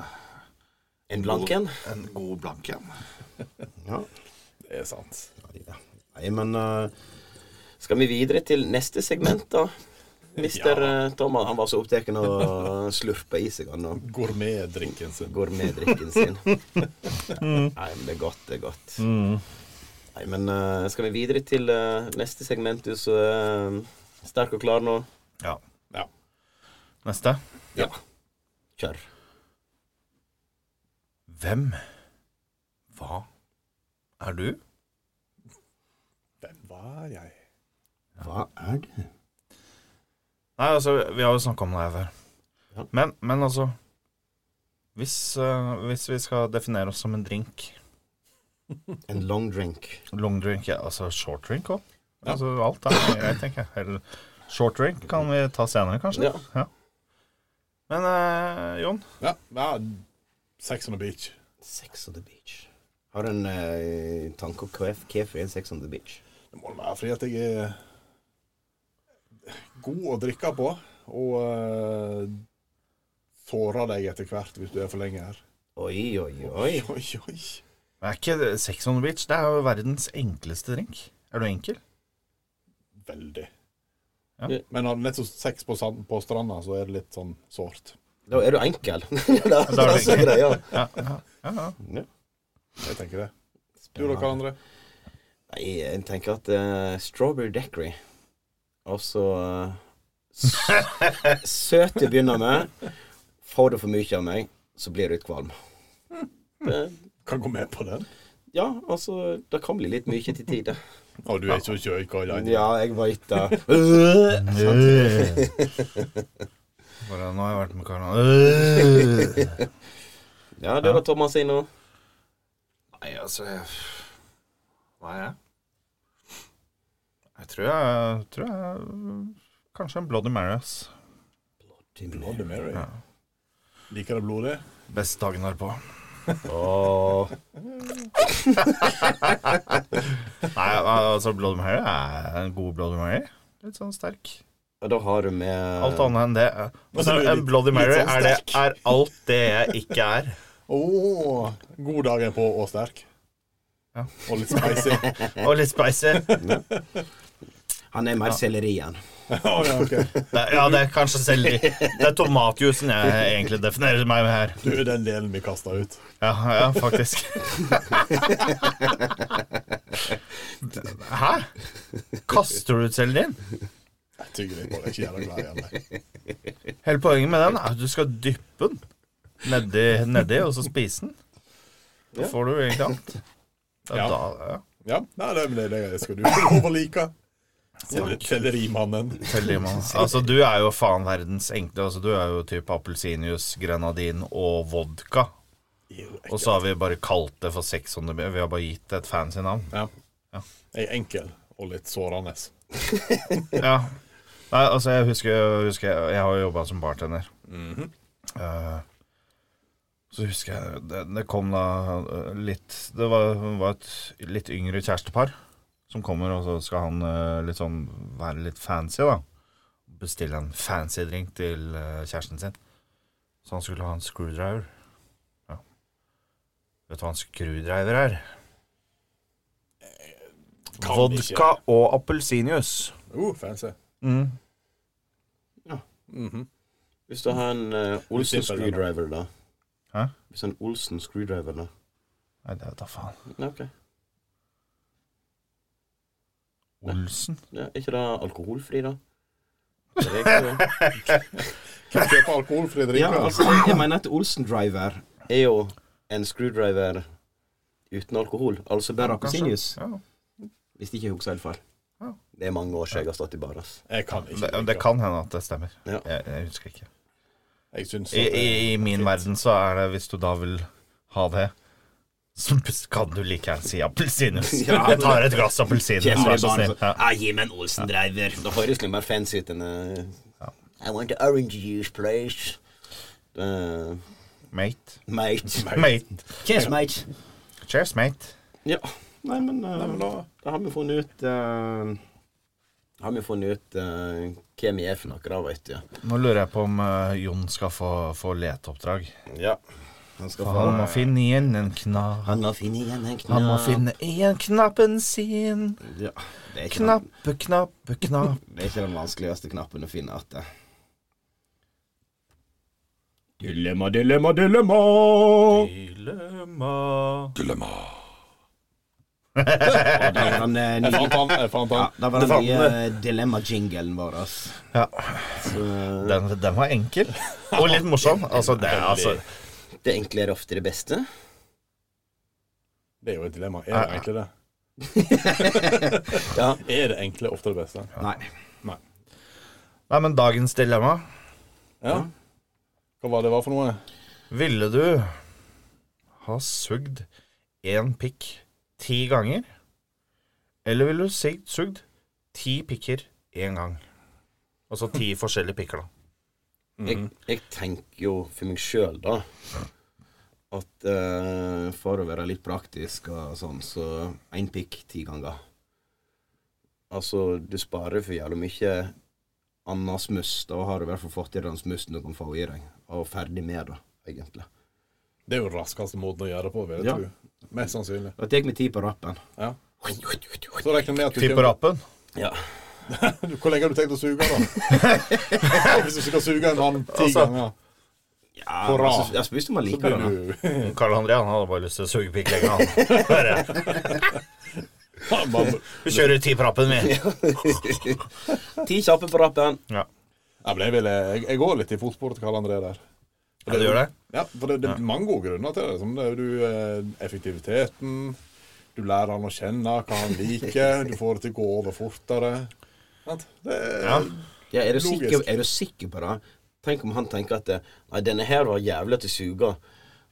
Speaker 5: En blank en.
Speaker 1: en god blank en.
Speaker 5: Ja.
Speaker 3: Det er sant.
Speaker 5: Ja. Nei, men eh, Skal vi videre til neste segment, da? Mister eh, Thomas han var så opptatt av å slurpe i seg han og
Speaker 3: Gourmetdrinken sin.
Speaker 5: går med drikken sin. Nei, men det er godt, det er godt. Nei, men eh, skal vi videre til eh, neste segment, du så eh, sterk og klar nå?
Speaker 4: Ja.
Speaker 3: Ja.
Speaker 4: Neste.
Speaker 5: Ja. Kjør.
Speaker 4: Hvem? Hva? Er du?
Speaker 3: Hvem var jeg?
Speaker 5: Hva er det?
Speaker 4: Nei, altså, vi har jo snakka om det her før.
Speaker 5: Ja.
Speaker 4: Men, men altså hvis, eh, hvis vi skal definere oss som en drink
Speaker 5: En long drink.
Speaker 4: Long drink, ja, altså short drink òg. Altså alt er greit, tenker jeg. Eller short drink kan vi ta senere, kanskje.
Speaker 5: Ja.
Speaker 4: Men eh, Jon,
Speaker 3: Ja, ja Sex on the beach.
Speaker 5: Sex on the beach. Har du en eh, tanke om hva- hvorfor er sex on the beach?
Speaker 3: Det må det være fordi at jeg er god å drikke på, og eh, sårer deg etter hvert hvis du er for lenge her.
Speaker 5: Oi, oi, oi.
Speaker 3: oi, oi.
Speaker 4: er ikke det- Sex on the Beach det er jo verdens enkleste drink? Er du enkel?
Speaker 3: Veldig.
Speaker 4: Ja.
Speaker 3: Men har du nettopp sex på, sand, på stranda, så er det litt sånn sårt.
Speaker 5: Da er du enkel. da,
Speaker 4: Da er du enkel.
Speaker 5: greia.
Speaker 4: Ja, ja, ja, ja.
Speaker 3: Jeg tenker det. Du og dere andre?
Speaker 5: Nei, jeg tenker at eh, strawberry daiquiri Og så eh, s- Søt til å begynne med. Får du for mye av meg, så blir du litt kvalm. Det,
Speaker 3: Kan gå med på den.
Speaker 5: ja, altså Det kan bli litt mye til tider.
Speaker 3: Å, du er ikke så kjøy, Kai.
Speaker 5: Ja, jeg veit det.
Speaker 4: Bare, nå har jeg vært med Karl. Øh.
Speaker 5: Ja, det var Thomas sin nå.
Speaker 1: Nei, altså jeg... Hva er jeg?
Speaker 4: Jeg tror jeg, tror jeg Kanskje en Bloody Mary. ass.
Speaker 3: Bloody Mary. Liker det blodig?
Speaker 4: Best dagen derpå.
Speaker 5: Åh,
Speaker 4: Nei, al- altså Bloody Mary er en god Bloody Mary. Litt sånn sterk.
Speaker 5: Og da har du med
Speaker 4: Alt annet enn det. er-
Speaker 3: Og så blir det
Speaker 4: En
Speaker 3: litt-
Speaker 4: Bloody Mary
Speaker 3: litt sånn
Speaker 4: er, det,
Speaker 3: sterk.
Speaker 4: er alt det jeg ikke er.
Speaker 3: Åh, god dag er på og sterk.
Speaker 4: Ja.
Speaker 3: Og litt spicy.
Speaker 4: Og litt spicy.
Speaker 5: Han er mer selleri enn.
Speaker 3: Å, ja, ok.
Speaker 4: Det, ja, det er kanskje selv Det er tomatjuicen jeg egentlig definerer meg med her.
Speaker 3: Du er den delen vi kasta ut.
Speaker 4: Ja, ja faktisk. Hæ? Kaster du ut sellerien?
Speaker 3: Jeg tygger litt på det. Ikke gjør deg glad igjen. nei.
Speaker 4: Hele poenget med den er at du skal dyppe den nedi, nedi og så spise den. Da får du egentlig alt. Det er
Speaker 3: Ja.
Speaker 4: da- ja.
Speaker 3: Ja, nei, det, men det, det skal du få lov å like. Sellerimannen.
Speaker 4: Veldig mange. Altså, du er jo faen verdens enkle. Altså, du er jo type appelsinjuice, grenadin og vodka. Og så har vi bare kalt det for 600 Vi har bare gitt det et fancy navn.
Speaker 3: Ja. Jeg er enkel og litt sårende.
Speaker 4: Ja. Nei, altså, jeg husker, jeg husker Jeg har jo jobba som bartender.
Speaker 3: Mhm.
Speaker 4: Eh, så husker jeg Det, det kom da eh, litt Det var, var et litt yngre kjærestepar som kommer, og så skal han eh, litt sånn være litt fancy, da. Bestille en fancy drink til eh, kjæresten sin. Så han skulle ha en screwdriver. Ja. Vet du hva en screwdriver er?
Speaker 3: Kan ikke.
Speaker 4: Vodka og appelsinjuice.
Speaker 3: Uh, fancy.
Speaker 4: Mm.
Speaker 5: Hvis du har en eh,
Speaker 3: Simple, ja.
Speaker 5: Olsen screwdriver, da.
Speaker 4: Hæ?
Speaker 5: Hvis en Olsen screwdriver, da.
Speaker 4: Nei, det vet da faen.
Speaker 5: Nei, ok.
Speaker 4: Olsen?
Speaker 5: Ja, er ikke det alkoholfri, da? Det er ikke-
Speaker 3: Kan kjøpe alkoholfri
Speaker 5: ja,
Speaker 3: drikke.
Speaker 5: altså, jeg mener at Olsen driver er jo en screwdriver uten alkohol. Altså bare appelsinjuice.
Speaker 4: Ja.
Speaker 5: Hvis det ikke jeg husker helt feil.
Speaker 4: Ja.
Speaker 5: Det er mange år siden jeg har stått i bar. ass.
Speaker 3: Jeg kan ikke
Speaker 4: Det, det
Speaker 3: drikke.
Speaker 4: kan hende at det stemmer.
Speaker 5: Ja.
Speaker 4: Jeg, jeg husker ikke.
Speaker 3: Jeg syns
Speaker 5: Eh,
Speaker 4: I, i, I min verden så er det, hvis du da vil ha det, så kan du like gjerne si appelsinjuice. Jeg tar et glass appelsinjuice, vær så snill. Ja.
Speaker 5: Ah, gi meg en Olsen-driver. Det høres litt mer liksom fancy ut enn eh, I want the orange juice, please. Eh,
Speaker 4: Mate.
Speaker 5: mate.
Speaker 4: Mate.
Speaker 5: Cheers, mate.
Speaker 4: Cheers, mate.
Speaker 5: Ja. Nei, men, eh, da har vi funnet ut eh, Har vi funnet ut eh, hvem vi er for noe, da, vet du.
Speaker 4: Nå lurer jeg på om eh, Jon skal få, få leteoppdrag.
Speaker 5: Ja. Han skal få
Speaker 4: Han må finne igjen en knapp.
Speaker 5: Han må finne igjen en knapp.
Speaker 4: Han må finne igjen knappen sin.
Speaker 5: ja. det, er ikke den,
Speaker 4: Knappe, knappe, knapp.
Speaker 5: det er ikke den vanskeligste knappen å finne igjen.
Speaker 8: Dilemma, dilemma, dilemma.
Speaker 9: Dilemma
Speaker 5: Det var den, eh,
Speaker 3: Jeg
Speaker 5: nye-
Speaker 3: fant han. Jeg fant
Speaker 5: ja,
Speaker 3: han. eh.
Speaker 5: det var den nye eh, dilemma-jinglen vår. ass.
Speaker 4: Ja.
Speaker 5: Så,
Speaker 4: Den, den var enkel. Og litt morsom. Altså, det er altså
Speaker 5: det enkle er ofte det beste.
Speaker 3: Det er jo et dilemma. Er det egentlig det?
Speaker 5: Ja.
Speaker 3: Er det enkle ofte det beste?
Speaker 5: Nei.
Speaker 4: Nei, men dagens dilemma.
Speaker 3: Ja. Hva var det var for noe?
Speaker 4: Ville du ha sugd én pikk ti ganger? Eller ville du sig- sugd ti pikker én gang? Altså ti forskjellige pikker, da.
Speaker 5: Jeg, jeg tenker jo for meg sjøl, da, at eh, for å være litt praktisk og sånn, så én pikk ti ganger. Altså, du sparer for jævlig mye anna smuss. Da har du i hvert fall fått i deg den smussen du kan få i deg, og ferdig med det, egentlig.
Speaker 3: Det er jo den raskeste måten å gjøre det på, vil jeg
Speaker 5: Ja.
Speaker 3: tro. Mest sannsynlig.
Speaker 5: Da tar vi ti på rappen.
Speaker 3: Ja. Så regner jeg med at du
Speaker 4: Ti på
Speaker 3: kommer
Speaker 4: rappen.
Speaker 5: Ja.
Speaker 3: Hvor lenge har du tenkt å suge, da? Hvis du skal suge en mann ti
Speaker 4: Altså,
Speaker 3: ganger,
Speaker 5: Ja,
Speaker 3: Hurra.
Speaker 5: altså, jeg spiste man
Speaker 3: så
Speaker 5: liker
Speaker 3: blir
Speaker 5: det.
Speaker 3: du
Speaker 4: Karl André han hadde bare lyst til å suge pikk lenge, han. Bare,
Speaker 3: Man-
Speaker 4: Vi kjører ti på rappen, vi.
Speaker 5: da. Ti kjappe på rappen.
Speaker 4: Ja.
Speaker 3: Ja, men jeg, vil, jeg, jeg går litt i fotsporet til Karl André der.
Speaker 4: Ja, du gjør det?
Speaker 3: Ja, for det, det er mange gode grunner til det. Som det er jo du, eh, effektiviteten, du lærer han å kjenne hva han liker, du får det til å gå over fortere. Sant? Det er,
Speaker 4: Ja.
Speaker 5: Ja, er, du
Speaker 3: Logisk.
Speaker 5: sikker, er du sikker på det? Tenk om han tenker at eh, Nei, denne her var jævlig til suga.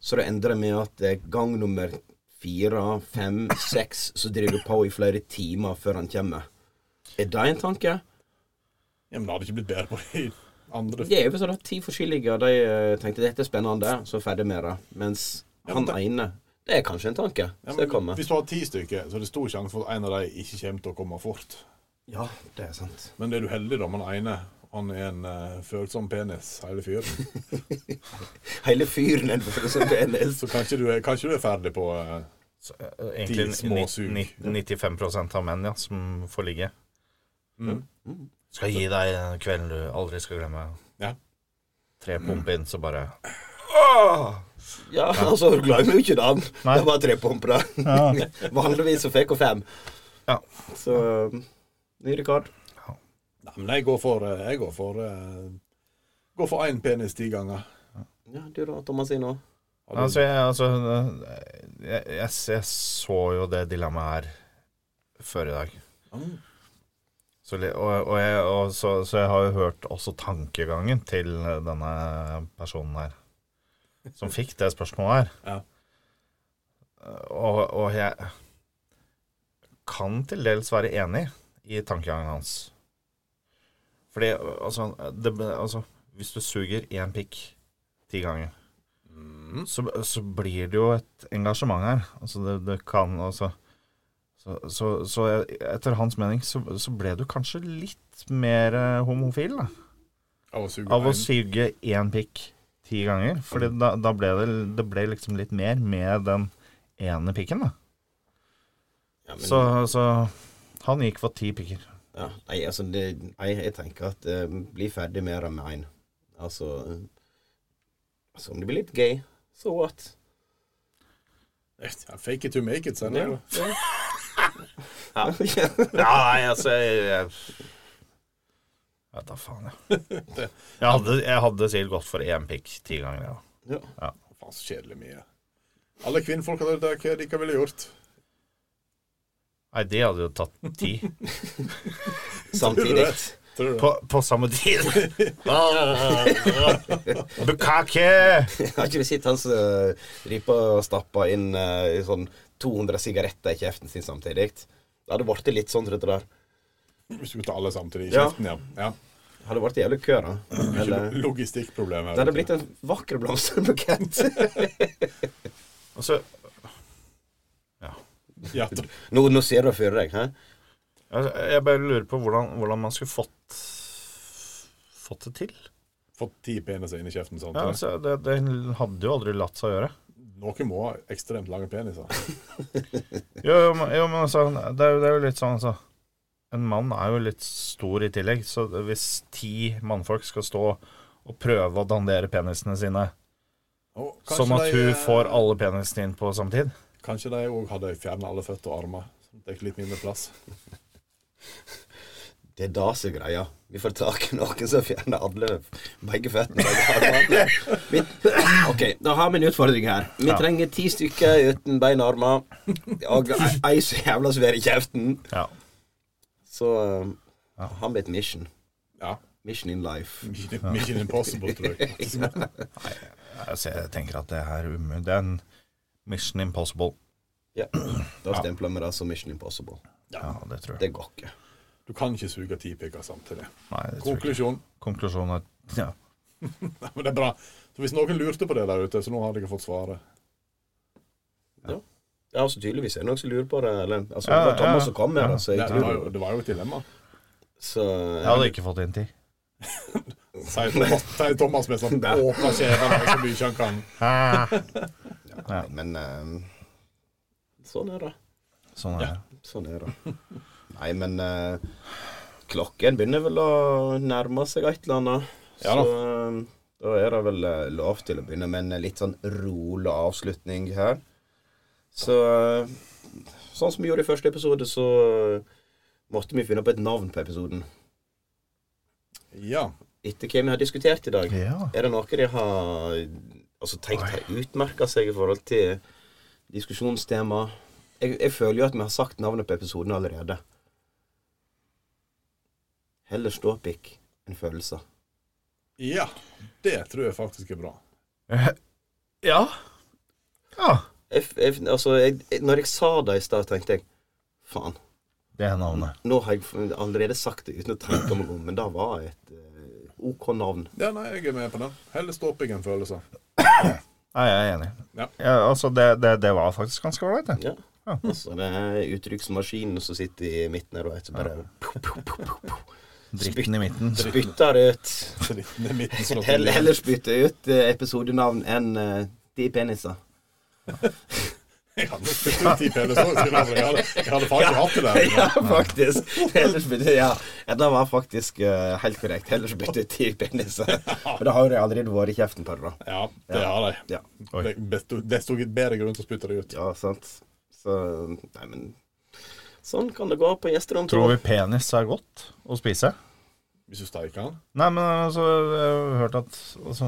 Speaker 5: Så det endrer med at eh, gang nummer fire, fem, seks, så driver du på i flere timer før han kommer. Er det en tanke?
Speaker 3: ja, men det hadde ikke blitt bedre på de andre.
Speaker 5: Det er jo sånn at ti forskjellige, og de eh, tenkte dette er spennende, så ferdig med det. Mens
Speaker 3: Ja, men
Speaker 5: han
Speaker 3: det-
Speaker 5: ene Det er kanskje en tanke.
Speaker 3: Ja,
Speaker 5: Så det
Speaker 3: men,
Speaker 5: kommer.
Speaker 3: hvis du har ti stykker, så er det stor sjanse for at en av dem ikke kommer til å komme fort.
Speaker 5: Ja, det er sant.
Speaker 3: Men er du heldig da med den ene, Han er en eh, følsom penis, hele fyren.
Speaker 5: Hele fyren er for som penis.
Speaker 3: Så kanskje du, er, kanskje du er ferdig på eh,
Speaker 4: Så, eh, egentlig
Speaker 3: De små sug.
Speaker 4: ni- ni- 95 av menn ja, som får ligge.
Speaker 3: mm.
Speaker 4: Skal gi deg den kvelden du aldri skal glemme.
Speaker 3: Ja.
Speaker 4: Tre pumper inn, så bare
Speaker 5: Ja, altså, du glemmer jo ikke den.
Speaker 4: Nei.
Speaker 5: Det var tre pumper, da. Vanligvis så fikk hun fem.
Speaker 4: Ja.
Speaker 5: Så um, ny rekord.
Speaker 3: Nei, men jeg går for eh, Jeg går for eh, Går for én penis ti ganger.
Speaker 5: Ja, du da, Tomasino?
Speaker 3: Har du-
Speaker 4: Altså, jeg, altså jeg, jeg, jeg så jo det dilemmaet her før i dag.
Speaker 3: Mm.
Speaker 4: Så, li- og, og jeg, og så, så jeg har jo hørt også tankegangen til eh, denne personen her, som fikk det spørsmålet her. Eh,
Speaker 3: Ja.
Speaker 4: Og, og jeg kan til dels være enig i tankegangen hans. Fordi, altså, det, altså Hvis du suger én pikk ti ganger
Speaker 3: Mm.
Speaker 4: så, så blir det jo et engasjement her. Altså det, det kan altså Så, så, så jeg- etter hans mening så, så ble du kanskje litt mer eh, homofil da,
Speaker 3: Av å suge
Speaker 4: av å
Speaker 3: en.
Speaker 4: suge én pikk ti ganger. For da, da ble det, det ble liksom litt mer med den ene pikken, da.
Speaker 5: Ja, men-
Speaker 4: Så, så han gikk for ti pikker.
Speaker 5: Ja, nei, altså det, nei, jeg tenker at eh, bli ferdig med det med én. Altså eh, Altså, om det blir litt gay, så what?
Speaker 3: Ja, Fake it to make it, sier jeg.
Speaker 5: Ja.
Speaker 3: da.
Speaker 5: Ja.
Speaker 10: Ja, nei, altså jeg, jeg,
Speaker 4: Ja, da faen, ja. Jeg hadde, jeg hadde sikkert gått for én pikk ti ganger, ja.
Speaker 3: Faen, så kjedelig mye. Alle kvinnfolk der ute, hva de ville gjort?
Speaker 4: Nei, de hadde jo tatt ti.
Speaker 5: Samtidig.
Speaker 3: Tror du det?
Speaker 4: På, på samme tid. Bukake!
Speaker 5: Har ikke du sett han som eh, driver og stapper inn eh, i sånn 200 sigaretter i kjeften sin samtidig? Det hadde blitt litt sånn, tror jeg. det der.
Speaker 3: Hvis du tar alle samtidig i
Speaker 5: Ja.
Speaker 3: kjeften, ja. ja.
Speaker 5: Det Hadde blitt jævlig kø, da.
Speaker 3: Ikke
Speaker 5: Eller,
Speaker 3: logistikkproblem
Speaker 5: det
Speaker 3: her.
Speaker 5: hadde blitt en vakker blomsterbukett.
Speaker 4: Altså,
Speaker 3: Ja, t-
Speaker 5: Nå, nå ser du for deg, hæ?
Speaker 4: altså, jeg bare lurer på hvordan, hvordan man skulle fått fått det til.
Speaker 3: Fått ti peniser inn i kjeften
Speaker 4: Ja,
Speaker 3: samtidig.
Speaker 4: altså, det, det hadde jo aldri latt seg gjøre.
Speaker 3: Noen må ha ekstremt lange peniser.
Speaker 4: Jo, jo, men- jo men altså, det er jo, det er jo litt sånn, altså En mann er jo litt stor i tillegg, så hvis ti mannfolk skal stå og prøve å dandere penisene sine
Speaker 3: Og
Speaker 4: sånn at
Speaker 3: de,
Speaker 4: hun
Speaker 3: eh,
Speaker 4: får alle penisene inn på samme tid
Speaker 3: Kanskje de òg hadde fjerna alle føtter og armer. Sånn at Det er ikke litt mindre plass.
Speaker 5: Det er da som er greia. Vi får tak i noen som fjerner alle begge føttene. Begge armene. vi, ok, da har vi en utfordring her. Vi
Speaker 4: Ja.
Speaker 5: trenger ti stykker uten bein og armer. Og ei ei så jævla svær i kjeften.
Speaker 4: Ja.
Speaker 5: Så um, har vi et mission.
Speaker 3: Ja.
Speaker 5: Mission in life.
Speaker 3: Mission, mission impossible, tror jeg.
Speaker 4: Altså, jeg tenker at det her er umulig. Det er en Mission Impossible.
Speaker 5: Ja. Da stempler vi det som Mission Impossible.
Speaker 4: Ja, det tror jeg.
Speaker 5: Det går ikke.
Speaker 3: Du kan ikke suge ti pikker samtidig.
Speaker 4: Nei, det tror jeg ikke.
Speaker 3: Konklusjon.
Speaker 4: Konklusjonen er ja.
Speaker 3: Nei, men det er bra. Så Hvis noen lurte på det der ute, så nå har dere fått svaret.
Speaker 5: Ja, altså Tydeligvis er det noen som lurer på det. Eller, altså,
Speaker 4: Ja,
Speaker 5: det var
Speaker 4: ja,
Speaker 5: Thomas
Speaker 4: ja.
Speaker 5: som kom med
Speaker 4: Ja.
Speaker 5: det, så
Speaker 3: Det,
Speaker 5: jeg
Speaker 3: det, var
Speaker 5: tror
Speaker 3: jo, det var jo et dilemma.
Speaker 5: Så
Speaker 4: Jeg hadde ikke fått inn ti.
Speaker 3: Sier Thomas, sier Thomas med sånn
Speaker 5: Nei.
Speaker 3: åpna kjeven så mye han kan.
Speaker 5: Nei, men um, sånn er det.
Speaker 4: Sånn er det.
Speaker 5: Sånn er det. Nei, men eh, klokken begynner vel å nærme seg et eller annet.
Speaker 3: Ja da.
Speaker 5: Så eh, da er det vel eh, lov til å begynne med en litt sånn rolig avslutning her. Så eh, sånn som vi gjorde i første episode, så eh, måtte vi finne på et navn på episoden.
Speaker 3: Ja.
Speaker 5: Etter hva vi har diskutert i dag.
Speaker 4: Ja.
Speaker 5: Er det noe de har altså, tenkt har utmerka seg i forhold til diskusjonstema? Jeg, jeg føler jo at vi har sagt navnet på episoden allerede. Heller ståpikk enn følelser.
Speaker 3: ja. Det tror jeg faktisk er bra.
Speaker 4: Ja. ja.
Speaker 5: Jeg, jeg, altså, jeg, jeg, når jeg sa det i stad, tenkte jeg faen.
Speaker 4: Det er navnet.
Speaker 5: Nå har jeg f- allerede sagt det uten å tenke meg om, men det var et eh, OK navn.
Speaker 3: Ja, nei, jeg er med på den. Heller stopping enn følelser.
Speaker 4: Nei, jeg er enig.
Speaker 3: Ja.
Speaker 4: Ja, altså, det, det, det var faktisk ganske ålreit, det.
Speaker 5: Ja. Altså, det er uttrykksmaskinen som sitter i midten her og vet så bare
Speaker 4: Dritten i midten.
Speaker 5: Spytter ut
Speaker 3: Dritten i midten. som
Speaker 5: Hell,
Speaker 3: noe.
Speaker 5: Heller spytter ut eh, episodenavn enn eh, de peniser.
Speaker 3: Jeg hadde spyttet ut i penis også, skulle jeg aldri ha det. Jeg hadde faen ikke hatt det der.
Speaker 5: Ja, faktisk. Heller spytter, ja. ja, det var faktisk eh, helt korrekt. Heller spytter ut de peniser. Men det har jo allerede vært i kjeften på det, da.
Speaker 3: Ja, det har de.
Speaker 5: Ja.
Speaker 4: Oi.
Speaker 3: Det- Desto, desto bedre grunn til å spytte det ut.
Speaker 5: ja, sant. Så Nei, men Sånn kan det gå på gjesterom.
Speaker 4: Tror vi penis er godt å spise?
Speaker 3: Hvis du steiker den.
Speaker 4: Nei, men altså, jeg har hørt at altså,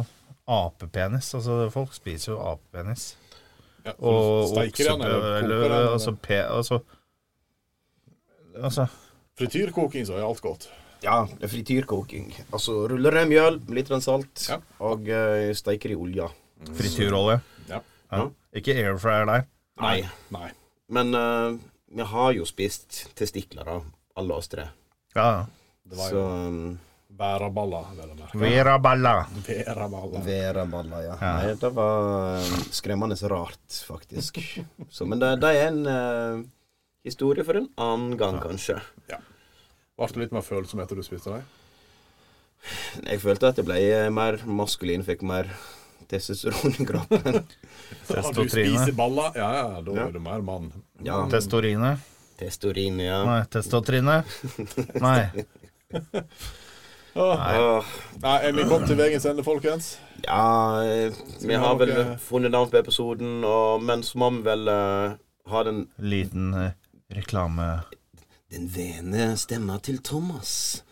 Speaker 4: apepenis Altså, folk spiser jo apepenis.
Speaker 3: Ja,
Speaker 4: Og
Speaker 3: steiker den, eller
Speaker 4: oksepe-
Speaker 3: koker den.
Speaker 4: eller
Speaker 3: eller-
Speaker 4: altså, pe, altså Altså
Speaker 3: Frityrkoking, så er alt godt.
Speaker 5: Ja, det er frityrkoking. Altså ruller det i mjøl, med litt grann salt,
Speaker 3: Ja.
Speaker 5: og eh, steiker i olja.
Speaker 3: Mm.
Speaker 4: frityrolje.
Speaker 3: Ja.
Speaker 4: Ja. Ikke air fryer der.
Speaker 5: Nei.
Speaker 3: Nei.
Speaker 5: Men eh, vi har jo spist testikler, da. Alle oss tre.
Speaker 4: Ja, ja.
Speaker 3: Det var
Speaker 5: Så mm,
Speaker 3: jo væraballer, vel å merke.
Speaker 4: Vera balla.
Speaker 3: Væraballer.
Speaker 5: Væraballer, ja.
Speaker 4: Ja.
Speaker 5: Nei, det var eh, skremmende så rart, faktisk. Så, men det, det er en eh, historie for en annen gang, kanskje.
Speaker 3: Ble du litt mer følsom etter du spiste dem?
Speaker 5: Jeg følte at jeg ble eh, mer maskulin, fikk mer testosteron i kroppen.
Speaker 3: Har du
Speaker 4: Testosterone.
Speaker 3: spiser baller? Ja, ja, da er du mer mann.
Speaker 5: Ja,
Speaker 4: Testorine.
Speaker 5: testosteron, ja.
Speaker 4: Nei, testotrine. Nei.
Speaker 3: Åh.
Speaker 5: Åh.
Speaker 3: Nei, er vi kommet til veiens ende, folkens?
Speaker 5: Ja, eh, vi
Speaker 3: vi
Speaker 5: har
Speaker 3: ha
Speaker 5: vel
Speaker 3: noe-
Speaker 5: funnet navn på episoden, og, men så må vi vel eh, ha den
Speaker 4: Liten eh, reklame...
Speaker 5: Den vene stemma til Thomas.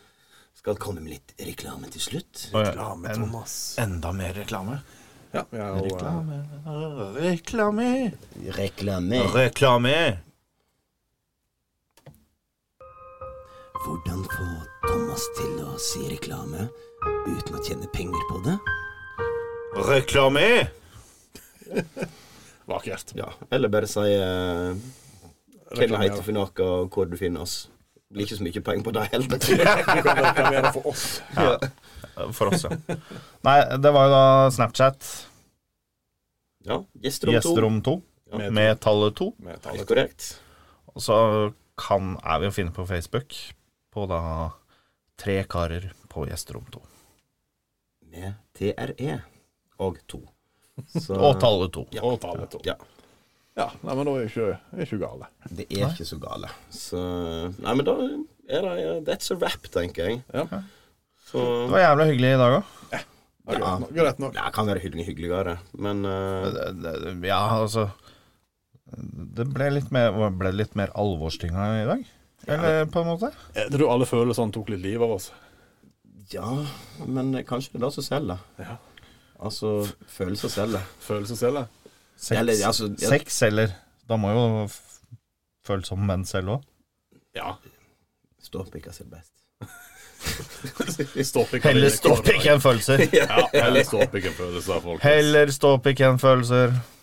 Speaker 5: Skal komme med litt reklame til slutt.
Speaker 4: Å, ja. En-
Speaker 1: Enda mer reklame.
Speaker 3: Ja, vi er jo, eh,
Speaker 1: Reklame. Reklame.
Speaker 5: Reklame.
Speaker 1: Reklame.
Speaker 5: Hvordan få Thomas til å si reklame uten å tjene penger på det?
Speaker 1: Reklame.
Speaker 3: vakkert.
Speaker 5: Ja, eller bare si eh, hva vi heter for noe, og hvor du finner oss. Blir ikke så mye penger på det heller.
Speaker 3: Du kan reklamere for oss.
Speaker 4: For oss, ja. Nei, det var jo da Snapchat.
Speaker 5: ja, gjesterom to.
Speaker 4: Gjesterom 2.
Speaker 5: Ja.
Speaker 4: Med tallet 2.
Speaker 3: Med
Speaker 5: Helt
Speaker 3: tallet.
Speaker 5: korrekt.
Speaker 4: Og så kan, er vi å finne på Facebook på da tre karer på gjesterom 2.
Speaker 5: Med TRE og to. Så-
Speaker 4: Og tallet 2.
Speaker 3: Og tallet to.
Speaker 5: Ja.
Speaker 3: Ja, nei, men da er ikke, er ikke gale.
Speaker 5: Det er ikke så gale. Så Nei, men da er det ja, That's a wrap, tenker jeg.
Speaker 3: Ja.
Speaker 5: Så
Speaker 4: Det var jævla hyggelig i dag òg.
Speaker 3: Ja,
Speaker 5: Ja.
Speaker 3: greit nok, Greit nok.
Speaker 5: Det kan være hyggelig hyggeligere, men eh,
Speaker 4: Ja, altså Det ble litt mer, ble det litt mer alvorstynga i dag. Eller på en måte.
Speaker 3: Jeg tror alle føler sånn tok litt liv av oss.
Speaker 5: Ja, men kanskje det er det som selger.
Speaker 3: Ja.
Speaker 5: Altså, følelser selger.
Speaker 3: Følelsen selv, det.
Speaker 5: Eller,
Speaker 4: Sex,
Speaker 5: altså, ja,
Speaker 4: sex eller Da må jo f- føles som menn selv òg.
Speaker 3: Ja.
Speaker 5: ståpikka selger best.
Speaker 3: Ståpikk.
Speaker 4: Heller ståpikk enn følelser.
Speaker 3: Ja, heller ståpikk enn følelser, folk.
Speaker 4: Heller ståpikk enn følelser.